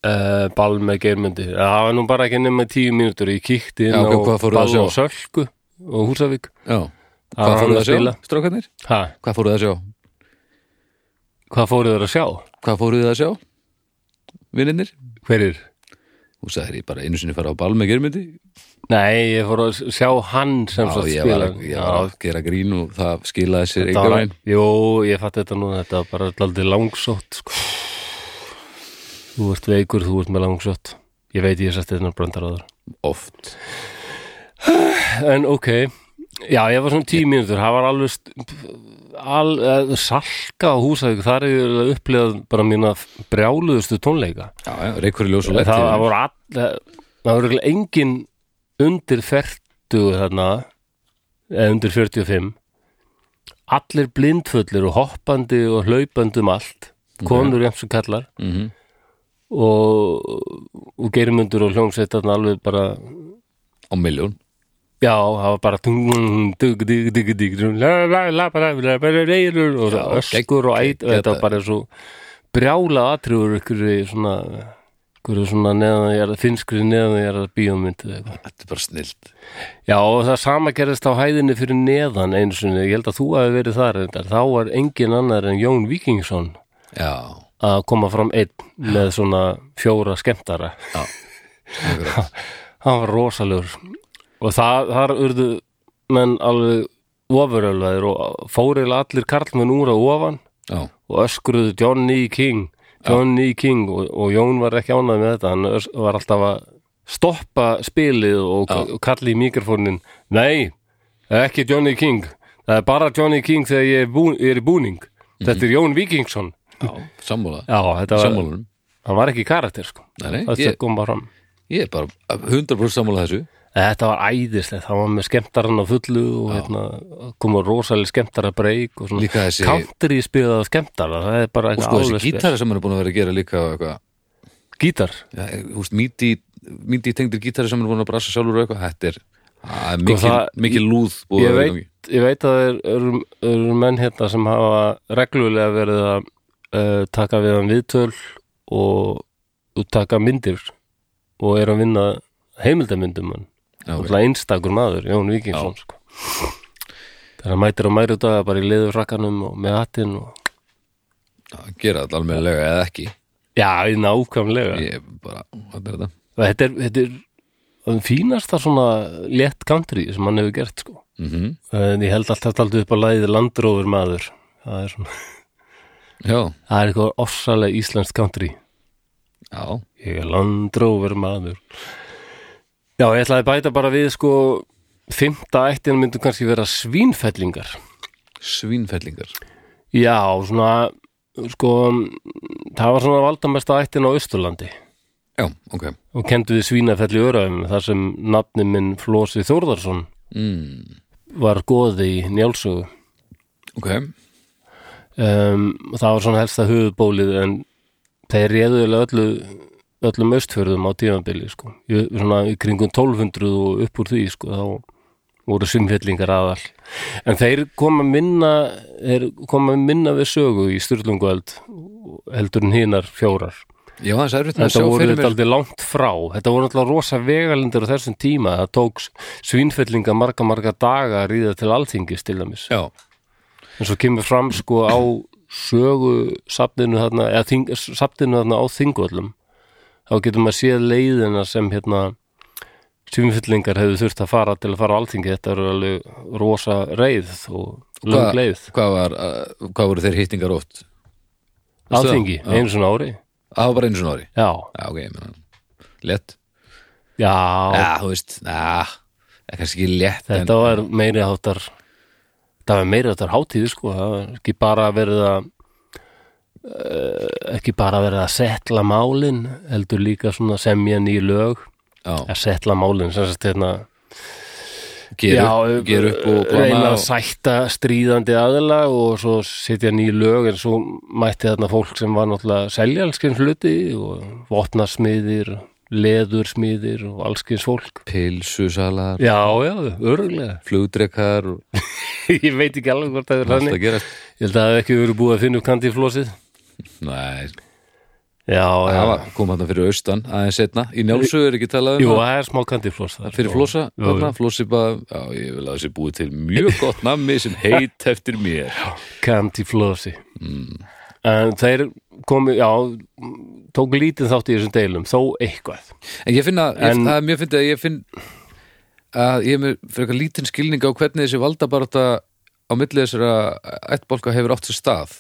S1: uh, ball með geirmyndi. Það var nú bara ekki nema tíu mínútur. Ég kíkti inn
S2: Já, ok,
S1: á
S2: hvað fóruð að
S1: ball
S2: sjá?
S1: á Sölku og Húsavík.
S2: Já,
S1: var
S2: hvað
S1: hann
S2: fóruð
S1: að
S2: að sjá,
S1: spila.
S2: strákarnir?
S1: Ha,
S2: Hvað fóruð að sjá?
S1: hvað fóruð þér að sjá?
S2: Hvað fóruð þið að sjá? Vinninir?
S1: Hverir?
S2: Þú sagðir ég bara einu sinni fara á ball með germyndi
S1: Nei, ég fór að sjá hann sem
S2: Já,
S1: svo
S2: ég var,
S1: spila.
S2: að, ég var að gera grín og það skilaði sér
S1: það
S2: einhver
S1: var,
S2: veginn
S1: jú, ég fatt þetta nú. Þetta var bara alltaf langsótt, sko. Þú ert veikur, þú ert með langsótt. Ég veit ég sætti þetta bröndar áður.
S2: oft
S1: En ok, já ég var svona tíu mínútur, það var alveg st- al, eh, salka á húsæk, þar er ég upplegað bara mína brjáluðustu tónleika.
S2: Já, já, reykur í ljós og
S1: Það,
S2: lett
S1: það voru all, það voru örugglega engin undir 40 þarna, eða undir 45, allir blindfullir og hoppandi og hlaupandi um allt, konur eins og kallar
S2: mm -hmm.
S1: og, og geirimundur og hljómsveit þarna alveg bara
S2: á miljón
S1: Já, það var bara dung, dung, dung, dung, dung, dung, la, la, la, la, la, la, la, la,
S2: Já,
S1: og það öskur og eit og þetta var bara svo brjála atriður ykkur svona ykkur svona neðan ég er að finskri neðan ég er að bíómynd eða eitthvað.
S2: Þetta er bara snilt
S1: Já, og það sama gerðist á hæðinni fyrir neðan eins og ég held að þú hafi verið þar reyndar. þá var engin annar en Jón Víkingsson
S2: Já,
S1: að koma fram einn með svona fjóra skemmtara
S2: já Akkurat.
S1: hann var rosalegur og það, þar urðu menn alveg ofuröflaðir og fórið allir karlmenn úr að ofan
S2: Já,
S1: og öskruðu Johnny King Johnny King og, og Jón var ekki ánægð með þetta hann ös- var alltaf að stoppa spilið og, og kalli í mikrofónin nei, ekki Johnny King það er bara Johnny King þegar ég er, bú, ég er í búning
S2: Mhm.
S1: þetta er Jón Víkingsson
S2: já, sammála
S1: já, þetta var,
S2: Sammálunum
S1: hann var ekki í karakter sko.
S2: Nei, nei,
S1: þetta
S2: ég-
S1: kom bara fram
S2: Ég er bara 100% sammála þessu
S1: Þetta var æðislegt, það var með skemmtarann á fullu og hérna, komu rosalega skemmtara breyk og svona
S2: Líka þessi-
S1: country spilaða skemmtara, það er bara
S2: Og
S1: eitthvað
S2: sko þessi
S1: alveg
S2: gítara sem hann er búin að vera að gera líka og eitthvað
S1: spes. Gítar,
S2: Já, húst, míti, míti tengdir gítari sem er búin að brasa sjálfur og eitthvað, þetta er það er mikil,
S1: Sko, það-
S2: mikil lúð búið
S1: ég
S2: að vera í
S1: veit, ég veit að þeir eru, eru menn hérna sem hafa reglulega verið að eh, uh, taka við hann viðtöl og, og taka myndir og er að vinna heimildamyndum hann
S2: Já,
S1: og
S2: ok.
S1: okay. einstakur maður, Jón Víkingsson sko. þannig að mætir á mæru daga bara í liður rakkanum og með hattinn og...
S2: Að gera þetta almennilega eða ekki
S1: já, nákvæmlega
S2: ég bara, hvað er þetta?
S1: þetta er, þetta er það fínasta svona létt country sem hann hefur gert sko.
S2: Mm
S1: en ég held alltaf alltaf upp á lagið landrófur maður það er, svona,
S2: Já,
S1: það er eitthvað ofsalega íslenskt country
S2: já,
S1: ég er landrófur maður já, ég ætlaði að bæta bara við sko fymta ættin myndum kannski vera svínfellingar
S2: svínfellingar
S1: já, svona sko, það var svona valdamesta ættin á Östurlandi
S2: Já, ok
S1: og kendu við svínafelli öraum þar sem nafni minn Flósi Þórðarsson
S2: mm.
S1: var goði í njálsögu
S2: Ok,
S1: um, og það var svona helsta höfubólið en þeir réðuðilega öllu öllum östfjörðum á tímabili sko. Í- svona í kringum 1200 og upp úr því sko, þá voru svimfjellingar aðall en þeir koma minna þeir koma minna við sögu í styrlungueld heldur en hinar fjórar
S2: já, það er erfitt með að sjá
S1: þetta voru
S2: fyrir
S1: þetta
S2: mér
S1: aldrei langt frá þetta voru alltaf rosa vegalindur á þessum tíma það tók svínfellinga marga marga daga að ríða til alþingis til dæmis
S2: Já,
S1: en svo kemur fram sko á sögu safninu þarna, eða þing, safninu þarna á þingvöllum þá getur maður séð leiðina sem hérna svínfellingar hefðu þurft að fara til að fara á alþingi þetta eru alveg rosa reið og
S2: hvað,
S1: lög leið
S2: hvað, var, uh, hvað voru þeir hittingar oft? Veistu það?
S1: alþingi,
S2: Já.
S1: einu svona ári
S2: Það var bara einu svona ári
S1: já,
S2: Já, ok, ég meina, lett
S1: já,
S2: Já, þú veist, na, það er kannski ekki lett en,
S1: Þetta var meiri hátar það var meiri hátar hátíð sko það var ekki bara verið að eh, ekki bara verið að setla málin heldur líka svona semja ný lög
S2: Já,
S1: að setla málin sem sagt hérna
S2: ger
S1: já,
S2: upp, ger upp og
S1: reyna
S2: blana
S1: að sætta stríðandi aðila og svo setja ný lög en svo mætti þarna fólk sem var náttúrulega seljalskins hluti og vopnasmiðir leðursmiðir og allskins fólk
S2: Pilsusalar,
S1: já, já, örgulega
S2: flugdrekar og
S1: ég veit ekki alveg hvort það er
S2: allt
S1: þannig
S2: að gerast
S1: Ég held að það hef ekki verið búið að finna upp kandíflósið.
S2: Nei,
S1: Já, já.
S2: það var, kom hann fyrir austan aðeins setna, í Njálsögu er ekki talað um
S1: Jú,
S2: það?
S1: það er smá kandíflós þar.
S2: fyrir flosa
S1: Jú,
S2: þarna, flossi bara, já ég vil að þessi búið til mjög gott nammi sem heit eftir mér
S1: Kandíflósi. Mm. En þeir komu, já, tók lítið þátt í þessum deilum, þó eitthvað.
S2: en ég finna, ég,
S1: En-
S2: það er mjög fyndið að ég finn að ég er með fyrir eitthvað lítinn skilning á hvernig þessi valdabarata á milli þessara ættbólka hefur átt sér stað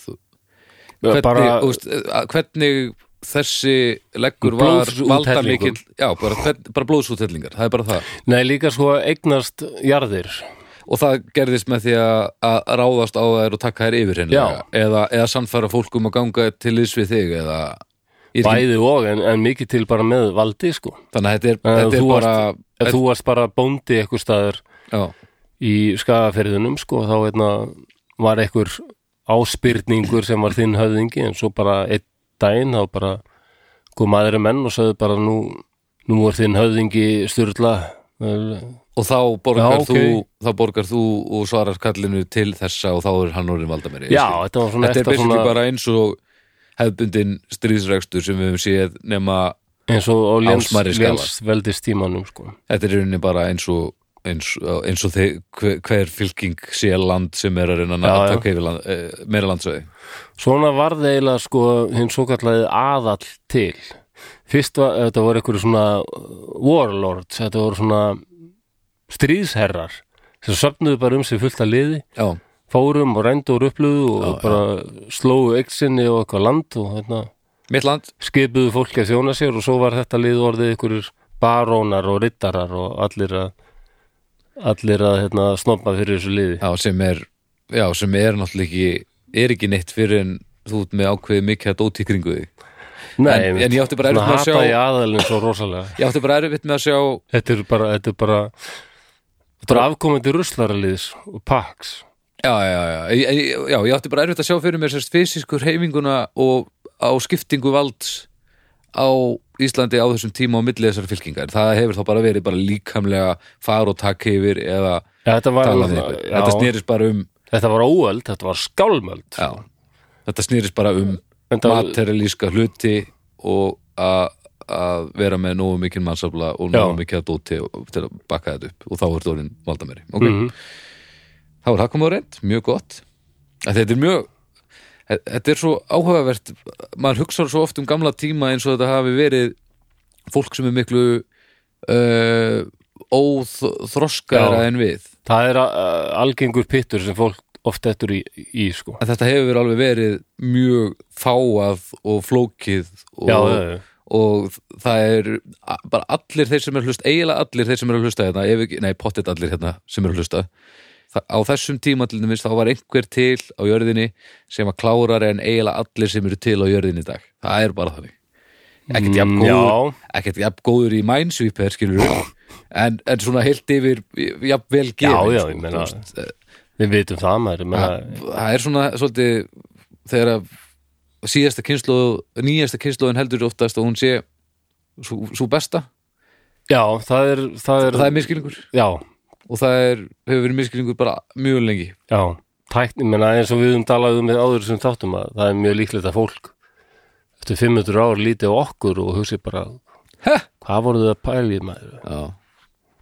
S2: hvernig, bara,
S1: Bara-
S2: úst, hvernig þessi leggur var
S1: Blóðsúthellingur.
S2: valdamikill, já bara, hvern, bara blóðsúthellingar, það er bara það
S1: Nei, líka sko eignast jarðir.
S2: og það gerðist með því að, að ráðast á þær og taka þær yfir
S1: Já.
S2: hennilega eða, eða samfæra fólk um að ganga til liðs við þig eða Ég er ekki-
S1: Bæði og, en, en mikið til bara með valdi, sko.
S2: þannig að þetta er,
S1: En
S2: þetta er
S1: þú
S2: bara
S1: Ef þú varst bara bóndi eitthvað staðar
S2: já,
S1: í skagaferðunum, sko, þá hérna, var einhver áspyrningur sem var þinn höfðingi en svo bara einn daginn þá bara kom aðri menn og sagði bara nú, nú er þinn höfðingi styrla já,
S2: og þá borgar,
S1: Já, ok.
S2: þú, þá borgar þú og svarar kallinu til þessa og þá er hann orðin valdameri
S1: þetta var svona
S2: þetta er
S1: eftir
S2: basically
S1: svona
S2: bara eins og hefðbundin stríðsrekstur sem við höfum séð nema
S1: eins og á léns,
S2: Ásmæri skalar.
S1: léns veldist tímanum sko.
S2: þetta er í rauninni bara eins og eins, eins og þeir, hver, hver fylking sé land sem er að reyna að
S1: Já, já.
S2: taka yfir land, eh, meira landsvæði
S1: svona varð eiginlega sko hinn svo kallaði aðall til fyrst var, þetta voru einhverju svona warlords, þetta voru svona stríðsherrar sem söfnuðu bara um sig fullt að liði
S2: já,
S1: fórum og rændu og rupluðu og bara slóu eign sinni og eitthvað land og hérna,
S2: mitt land
S1: skipuðu fólki að þjóna sér og svo var þetta lið orðið einhverjur barónar og rittarar og allir að allir að hérna, snoppa fyrir þessu liði
S2: já, sem er já, sem er náttúrulega ekki er ekki neitt fyrir en þú ert með ákveðið mikið að dóti í kringu því
S1: Nei,
S2: en- en ég átti bara erfitt
S1: svona
S2: með að sjá-
S1: hata ég aðalinn svo rosalega
S2: ég átti bara erfitt með að sjá
S1: þetta er bara þetta er bara, bara afkomandi ruslaraliðs og paks
S2: já, já, já, ég, ég- já, ég átti bara erfitt að sjá fyrir mér sérst fysisku reyfinguna og á skiptingu valds á Íslandi á þessum tíma á milli þessar fylkingar, það hefur þá bara verið bara líkamlega far og takk yfir eða
S1: ja, þetta var,
S2: tala við
S1: um já,
S2: ykkur, þetta snýrist bara um
S1: þetta var óöld, þetta var skálmöld
S2: já, þetta snýrist bara um
S1: Þetta-
S2: materialíska hluti og að að vera með nógu mikið mannsafla og nógu
S1: Já.
S2: mikið að dóti og- til að bakka þetta upp og þá er orðin valdameri ok,
S1: Mhm.
S2: þá er það komið á reynd, mjög gott að þetta er mjög e, þetta er svo áhugavert maður hugsar svo oft um gamla tíma eins og þetta hafi verið fólk sem er miklu uh, óþroskaðara
S1: Já.
S2: en við
S1: Það er uh, algengur pittur sem fólk oft eftir í, í sko.
S2: að þetta hefur alveg verið mjög fáað og flókið og,
S1: Já, já, já.
S2: og það er a- bara allir þeir sem er að hlusta eiginlega allir þeir sem er að hlusta hérna ef ekki, nei, pottet allir hérna sem er að hlusta Þa, á þessum tíma til dæmis þá var einhver til á jörðinni sem var klárari en eiginlega allir sem eru til á jörðinni í dag það er bara þannig ekkert jafn
S1: Mm,
S2: góður, ekkert jafn góður í Minesweeper skilur en, en svona heilt yfir jafn vel
S1: Já,
S2: gefin
S1: já,
S2: sko,
S1: ég
S2: þú
S1: meina-
S2: veist, eh,
S1: Við vitum það maður. ég Meina,
S2: það er svona svolítið þegar að síðasta kynslu nýjasta kynsluðin heldur oftast og hún sé svo svo besta
S1: já, það er, það er,
S2: það er miskilningur
S1: já,
S2: og það er, hefur verið miskilningur bara mjög lengi
S1: já, tækni, menna eins og við um talaðum með áður sem þáttum að það er mjög líklegt að fólk eftir 500 ár lítið á okkur og hugsi bara,
S2: Hæ?
S1: hvað voruð þið að pæli maður?
S2: Já.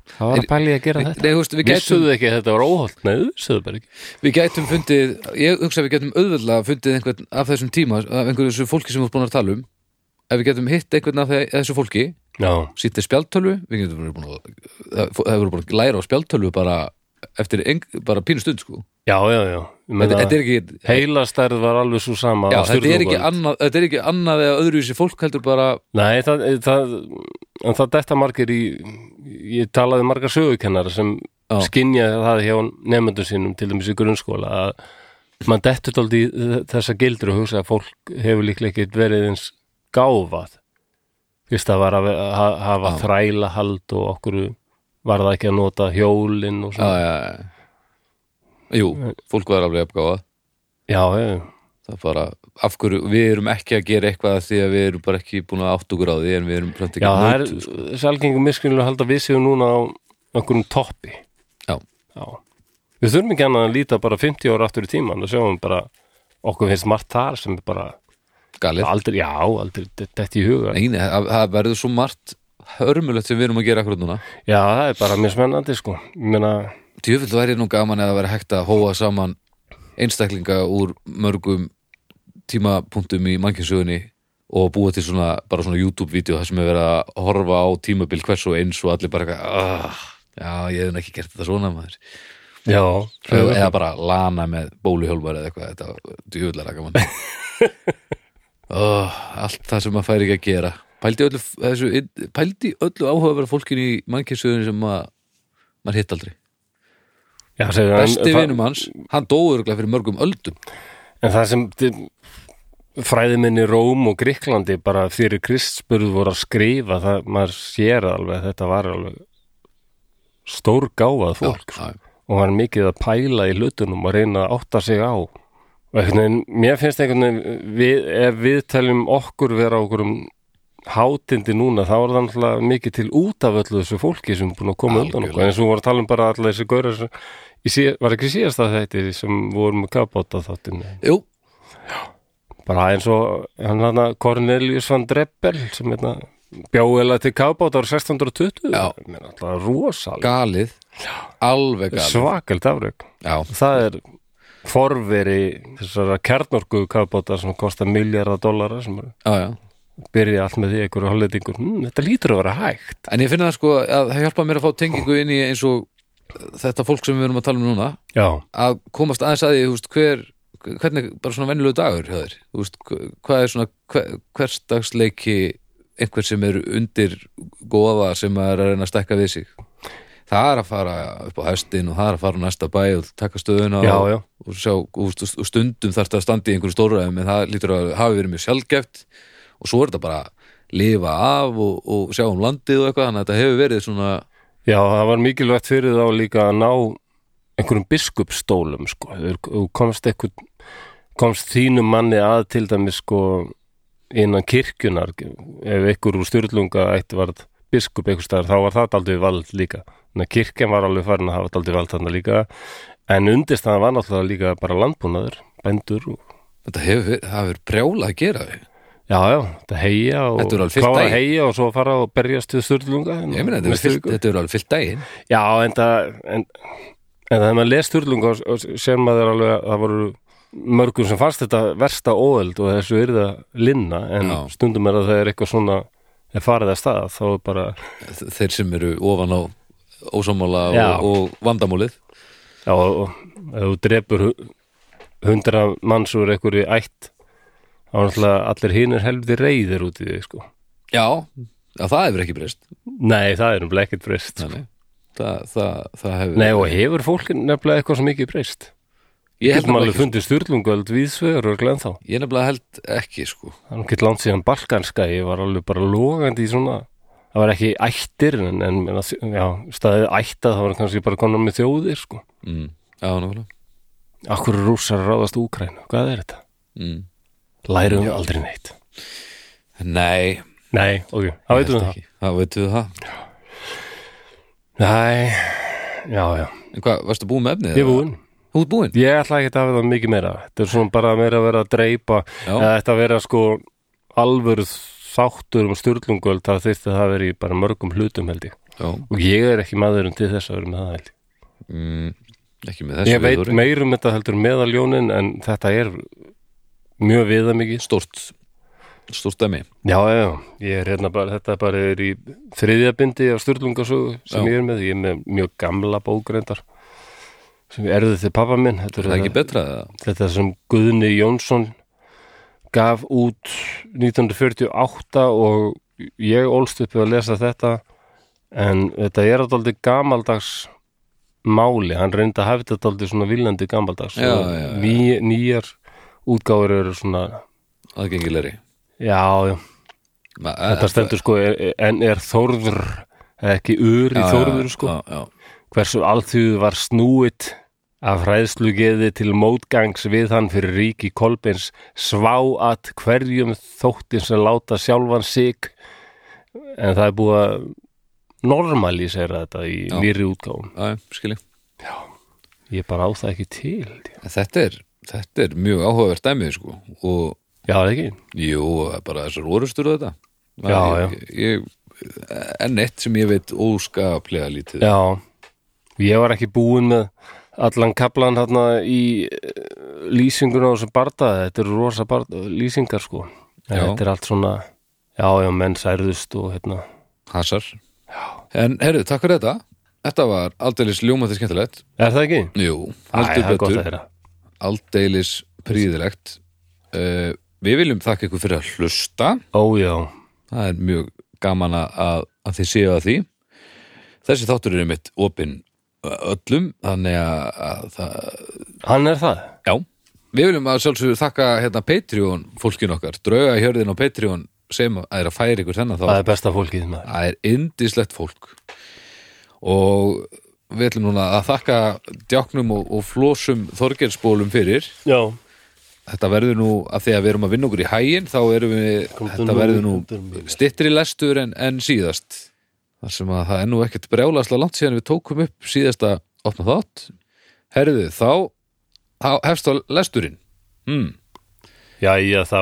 S1: Hvað var að pæli að gera þetta?
S2: Nei, þú veist, við gætum,
S1: Vissuðu ekki að þetta var óholt? Nei, vissuðu bara ekki.
S2: við gætum fundið ég hugsa að við gætum auðveldlega fundið einhvern af þessum tíma, af einhverju þessu fólki sem við erum búin að tala um ef við gætum hitt einhvern af þe- þessu fólki
S1: Já,
S2: sýttið spjaltölvu, við getum verið búin að það það hefur búin að læra á spjaltölvu bara eftir ein, bara pínu stund sko.
S1: já, já, já. Ég
S2: þetta,
S1: Meina,
S2: þetta er ekki
S1: Heilastærð var alveg svo sama.
S2: Já,
S1: á
S2: þetta er, ekki
S1: Sturlungaöld.
S2: annað, þetta er ekki annað eða öðruvísi fólk heldur bara
S1: Nei, það, það, en það detta margir í, ég talaði við marga sögukennara sem
S2: Já.
S1: skinja það hjá nefnendum sínum til dæmis í grunnskóla að mann dettur daldi þessa gildur og hugsa að fólk hefur líklega ekkert verið eins gáfað fyrst það var að ve- ha- hafa
S2: Já.
S1: þrælahald og okkur var það ekki að nota hjólin og
S2: já,
S1: svona.
S2: já, já. Jú, fólk var alveg uppgáfa
S1: Já, já,
S2: það er bara, af hverju, við erum ekki að gera eitthvað því að við erum bara ekki búin að átt okkur á því en við erum plönt ekki
S1: já,
S2: að
S1: það er
S2: njóta, sko.
S1: selgengum miskunnilega hald að við séum núna á okkurum toppi.
S2: Já,
S1: Já. Við þurfum ekki annað að líta bara 50 ára aftur í tíman og sjáum bara okkur finnst margt þar sem er bara
S2: galið
S1: aldrei, já, aldrei dætt í huga.
S2: Nei, nei, það það verður svo margt hörmulegt sem við erum að gera akkur núna
S1: Já, það er bara mjög smennandi sko. Ég meina,
S2: Tjöfild væri nú gaman eða verið hægt að hóa saman einstaklinga úr mörgum tímapunktum í mannkjössögunni og búa til svona, bara svona YouTube-vídeó þar sem er verið að horfa á tímabil hvers og eins og allir bara eitthvað "Ah, Já, ég hef nú ekki gert þetta svona maður
S1: já,
S2: eða bara lana með bóluhjólmar eða eitthvað, þetta djúvillara gaman oh, Allt það sem maður færi ekki að gera Pældi öllu, þessu, pældi öllu áhugaverða fólkinu í mannkjössögunni sem maður, maður hitt aldrei
S1: já segir,
S2: besti
S1: það-
S2: vinum hans, hann dói örgulega fyrir mörgum öldum
S1: En það sem þið- fræðimenn í Róm og Gríklandi bara fyrir kristspurð voru að skrifa, það, maður sér alveg að þetta var alveg stór gáfað fólk.
S2: Já,
S1: og var mikið að pæla í hlutunum og reyna að átta sig á og einhvern veginn, mér finnst einhvern veginn við, ef við teljum okkur vera okkur um hátindi núna þá er það náttúrulega mikið til út af öllu þessu fólki sem er búin að koma undan okkur
S2: Algjörlega.
S1: eins og við varum að tala um bara alla þessi gaura sem, í síð, var ekki síðast að þetta sem við vorum að kapáta þáttinu
S2: Jú,
S1: bara eins og hann hann Cornelius van Dreppel sem hérna bjóðilega til kapáta ára 1620
S2: Já.
S1: Mér er alltaf rosalega
S2: galið alveg galið
S1: svakelt afrök
S2: Já,
S1: það er forveri þessara kjarnorku kafbóta sem kostar miljardar dollara sem er-
S2: já, já
S1: byrja allt með því einhverju hollendingur hm, þetta lítur að vera hægt
S2: En ég finna það sko að það hjálpa mér að fá tengingu inn í eins og þetta fólk sem við erum að tala um núna
S1: já,
S2: að komast aðeins að því, þú veist, hver hvernig, bara svona venjulegu dagur hjá þér þú veist, hva- hvað er svona hver, hversdagsleiki einhver sem er undir góða sem er að reyna að stekka við sig það er að fara upp á hestin og það er að fara á næsta bæ og taka stöðuna
S1: já,
S2: og,
S1: já,
S2: og, sjá, og, þú veist, og, og stundum þarf þetta að standa í einhverju stóraðum en það lítur að hafi verið mjög sjálfgeft og svo er þetta bara að lifa af og, og sjá um landið og eitthvað þannig að þetta hefur verið svona
S1: já, það var mikilvægt fyrir þá líka að ná einhverjum biskupstólum sko, Þeir- þú komst einhver komst þínum manni að til dæmis sko innan kirkjunar ef einhver úr styrlunga ætti varð biskup einhvers staðar þá var það aldrei vald líka þannig að kirkjan var alveg farin að hafa aldrei vald þarna líka en undist það var náttúrulega líka bara landbúnaður bændur og
S2: þetta hefur, verið- það hefur brjálað að gera við
S1: Já, já, þetta heia og
S2: Þetta er alveg fyrst
S1: klára
S2: daginn.
S1: heia og svo fara og berjast til Sturlunga hérna
S2: Ég meina, þetta er
S1: næstu
S2: fyllt-
S1: viku.
S2: þetta er alveg fyllt daginn
S1: Já, en það en, en þegar maður les Sturlunga og- og sér maður alveg að það voru mörgum sem fannst þetta versta óöld og þessu yrði að linna en
S2: Já.
S1: stundum er að það er eitthvað svona er farið að stað, þá er bara
S2: Þeir sem eru ofan á ósámála
S1: Já.
S2: og, og vandamúlið
S1: já, og og ef þú drepur hu- hundra manns úr einhverju ætt þá er náttúrulega allir hinir helfti reyðir út í því, sko
S2: Já, já það hefur ekki breyst
S1: Nei, það er um ekkert breyst sko.
S2: Nei, nei. það, það, það hefur
S1: Nei, og hefur fólk nefnilega eitthvað sem ekki breyst
S2: Ég
S1: Ég
S2: held
S1: hef alveg
S2: nefnilega ekki,
S1: fundið styrlungöld viðsvegur og glenn þá.
S2: sko. ég nefnilega held ekki sko.
S1: Það er ekki langt síðan balkanska, ég var alveg bara logandi í svona, það var ekki ættir en, en en að- já, staðið ætta það var kannski bara konar með þjóðir sko.
S2: mm. Já, nákvæmlega
S1: Akkur rússar að ráðast Úkrænu, hvað er þetta?
S2: mm.
S1: Lærum já. aldrei neitt.
S2: Nei,
S1: Nei, ok, það veitum við það.
S2: ekki Það veitum við það
S1: Nei, já, já,
S2: En hvað, varstu búin með efnið?
S1: ég er búinn.
S2: Þú ert búin?
S1: Ég ætla ekki að hafa það mikið meira. Þetta er svona bara meira að vera að dreipa,
S2: Já.
S1: eða þetta að vera sko alvöru þáttur um styrlungöld, það þyrfti að það veri í bara mörgum hlutum held ég.
S2: Já,
S1: og ég er ekki maðurinn til þess að vera með það held ég.
S2: mm, ekki með þessu
S1: ég veit
S2: viðhorfi.
S1: meir um þetta heldur meðaljónin en þetta er mjög viðamikið
S2: Stórt, stórt dæmi
S1: já, já, já, ég er hérna bara þetta bara er í þriðja bindi af Sturlungasögu sem
S2: Já.
S1: ég er með, ég er með mjög gamla bókreindar sem ég erði til pappa minn hérna þetta,
S2: Er það
S1: er
S2: ekki betra það?
S1: þetta sem Guðni Jónsson gaf út 1948 og ég ólst upp við að lesa þetta en þetta er alltaf gamaldags máli, hann reyndi að hafa þetta alltaf svona viljandi gamaldags
S2: Já,
S1: Og
S2: já, já.
S1: ný- nýjar útgáfur eru svona
S2: Aðgengilegri
S1: já, já,
S2: Ma, eh,
S1: þetta stendur sko er, en er þórður eða ekki ur í þórður sko
S2: eh, já, já.
S1: hversu alþjóð var snúið af hræðslugeði til mótgangs við hann fyrir ríki Kolbins svá að hverjum þóttin sem láta sjálfan sig en það er búið að normalísera þetta í
S2: Já.
S1: nýri útgáfum
S2: Já, já, skilji
S1: ég bara á það ekki til held ég.
S2: En Þetta er, þetta er mjög áhugavert dæmið sko og
S1: já, er það ekki,
S2: jú, bara þessar orustur og þetta
S1: Já,
S2: ég, ég, Enn eitt sem ég veit óskaplega lítið
S1: já ég var ekki búin með allan kaplan hérna í eh, lýsinguna á þessu barda þetta eru rosa barda, lýsingar sko En
S2: Já.
S1: þetta er allt svona já, já, menn særðust og hérna
S2: um. Hasar En herru, takk fyrir þetta Þetta var aldeilis ljómandi skemmtilegt
S1: Er það ekki?
S2: Jú,
S1: Æ, það
S2: heldur
S1: er gott að
S2: betur
S1: þeirra.
S2: Aldeilis príðilegt uh, Við viljum þakka ykkur fyrir að hlusta
S1: Ó, já.
S2: það er mjög gaman að- að, að þið séu að því þessi þáttur er mitt opinn öllum þannig að, að það,
S1: Hann er það.
S2: já, við viljum að sjálfsögur þakka hérna Patreon fólkinu okkar drauga hjörðin á Patreon sem að er að færa ykkur þennan þá
S1: Það er besta fólkið maður.
S2: það er indislegt fólk og við ætlum núna að þakka djáknum og, og flósum þorgelsbólum fyrir
S1: Já.
S2: þetta verður nú að því að við erum að vinna okkur í hægin þá erum við,
S1: Komdu
S2: þetta
S1: nú, um
S2: verður
S1: komdu nú.
S2: nú stittri lestur en, en síðast þar sem að það er nú ekkert brjálasla langt síðan við tókum upp síðasta opna þátt herðu þá, þá hefst þá lesturinn hmm.
S1: Jæja þá.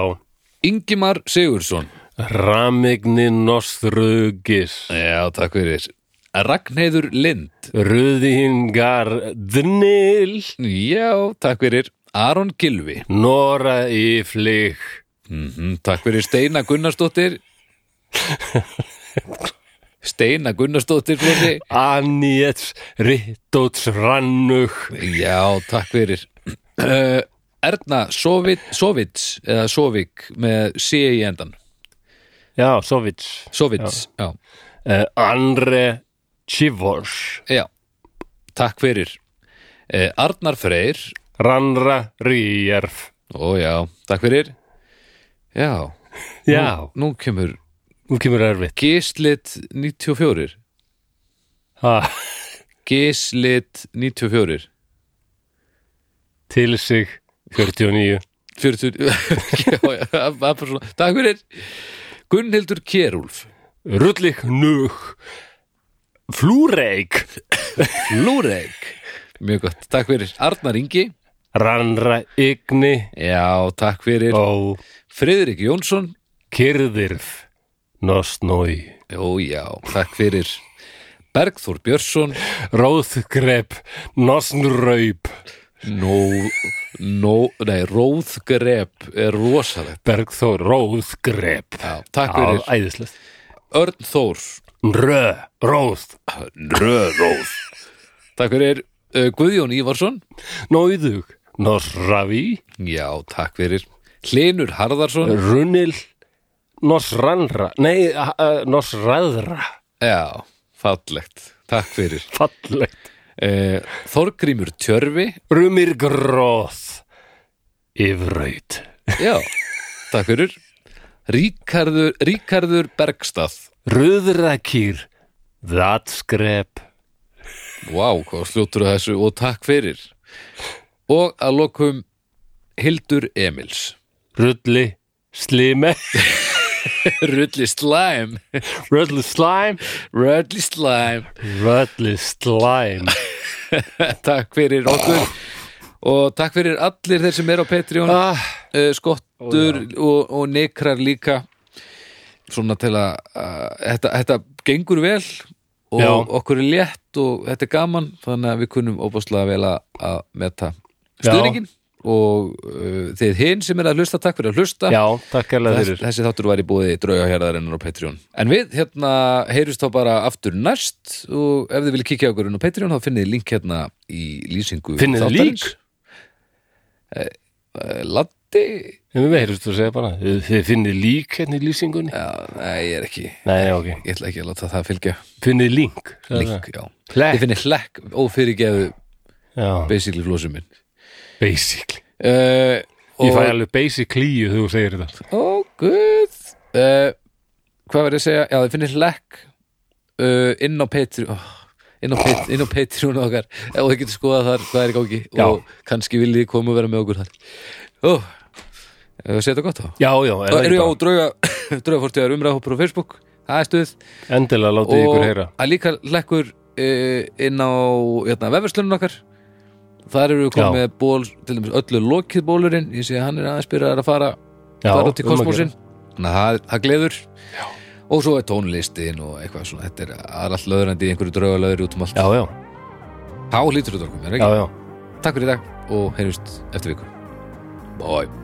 S2: Ingimar Sigursson
S1: Ramigni nostrugis.
S2: já, takk fyrir Ragnheður Lind
S1: Ruðingar dnil.
S2: já, takk fyrir Aron Gilvi
S1: Nora í flík.
S2: mm takk fyrir Steina Gunnarsdóttir Steina Gunnarsdóttir flóti
S1: Anjets rittóts rannug.
S2: Já, takk fyrir uh, Erna Sovit, Sovits eða Sovik með C í endan
S1: Já, Sovits.
S2: Sovits, já.
S1: Uh, Andre Chivors.
S2: Já. Takk fyrir uh, Arnar Freyr
S1: Rannra Ríjärf.
S2: Ó já, takk fyrir Já,
S1: Já,
S2: nú kemur
S1: nú kemur erfitt.
S2: Gislit 94
S1: Ha,
S2: Gislit 94
S1: til sig 49.
S2: 40 já, já, það var bara svona. Takk fyrir Gunnhildur Kjerúlf
S1: Rullik nug Flúreik
S2: Lúreik Mjög gott, takk fyrir Arnar Ingi
S1: Rannra ygni
S2: Já, takk fyrir
S1: Ó,
S2: Friðrik Jónsson
S1: Kyrðirð Nostnói
S2: Jó, já, takk fyrir Bergþór Björnsson
S1: Róðgrep Nosnraup
S2: Nó, nó, nei, Róðgrep er rosalegt
S1: Bergþór Róðgrep
S2: já, Takk
S1: Já,
S2: fyrir
S1: æðislegt
S2: Örn Þór
S1: Rö, Róð,
S2: Röðróð Takk fyrir uh, Guðjón Ívarsson
S1: Nóðug Nosravi,
S2: Já, takk fyrir Hlinur Harðarsson
S1: Runil Nosranra, nei uh, uh, Nosraðra
S2: Já, fallegt Takk fyrir
S1: Fallegt
S2: uh, Þorgrímur Tjörfi
S1: Rumir gróð Yfraut
S2: Já, takk fyrir Ríkarður, Ríkarður Bergstað
S1: Röðrakýr Vatsgrep
S2: Vá, hvað sljótur að þessu og takk fyrir Og að lokum Hildur Emils
S1: Rulli Slime
S2: Rulli Slime
S1: Rulli Slime
S2: Rulli Slime
S1: Rulli Slime
S2: Takk fyrir okkur Og takk fyrir allir þeir sem eru á Patreon ah, Skottur og, og nekrar líka Svona til að uh, þetta, þetta gengur vel og
S1: Já.
S2: okkur er létt og þetta er gaman þannig að við kunum óbúslega vel að, að meta
S1: Já.
S2: stuðningin og uh, þið hinn sem er að hlusta takk fyrir að hlusta
S1: Já, takk hérlega
S2: Þess,
S1: fyrir
S2: þessi þáttur var í búið draugaherðarinnar á Patreon en við hérna heyrjumst þá bara aftur næst og ef þið viljið kíkja okkur inn á Patreon þá finnið þið link hérna í lýsingu
S1: Finnið þið
S2: þáttarins.
S1: lík?
S2: Eh, Laddi?
S1: Við meirist að segja bara Þið þið finnið lík hérna í lýsingunni
S2: Já, nei, ég er ekki
S1: Nei, ok
S2: ég ætla ekki að láta það fylgja
S1: Finnið link sagði
S2: link, já
S1: Hlekk.
S2: Ég finnið hlekk og fyrirgeðu
S1: það. Já,
S2: basically flósum minn
S1: basically
S2: uh,
S1: Ég fæ alveg basic líu þegar þú segir þetta
S2: Ó, guð uh, Hvað var ég að segja? Já, þið finnir hlekk uh, inn á Patreon oh, inn, á Pat- inn á Patreon okkar Eh, og þið getur skoðað þar hvað er í gangi
S1: Já.
S2: og kannski viljið koma og vera með okkur þar Ó, uh, sé þetta gott þá
S1: Já, já, er
S2: Þá erum
S1: það ekki
S2: við á
S1: bara?
S2: drauga draugafortjöðar umræðhópur á Facebook það er stuð
S1: Endilega látið ykkur heyra
S2: og að líka hlekkur uh, inn á hérna, vefverslunum okkar þar eru við komið
S1: Já.
S2: með ból til dæmis öllu lokið bólurinn ég sé að hann er aðeins byrjaðar að fara
S1: Já,
S2: fara út í
S1: um að gera.
S2: kosmosin þannig að það- það gleður og svo er tónlistin og eitthvað svona þetta er það er allt löðrandi í einhverju draugalöður út um allt
S1: Já, já,
S2: þá hlýtur þetta okkur mér
S1: já,
S2: ekki
S1: já
S2: takk fyrir í dag og heyrjumst eftir viku bye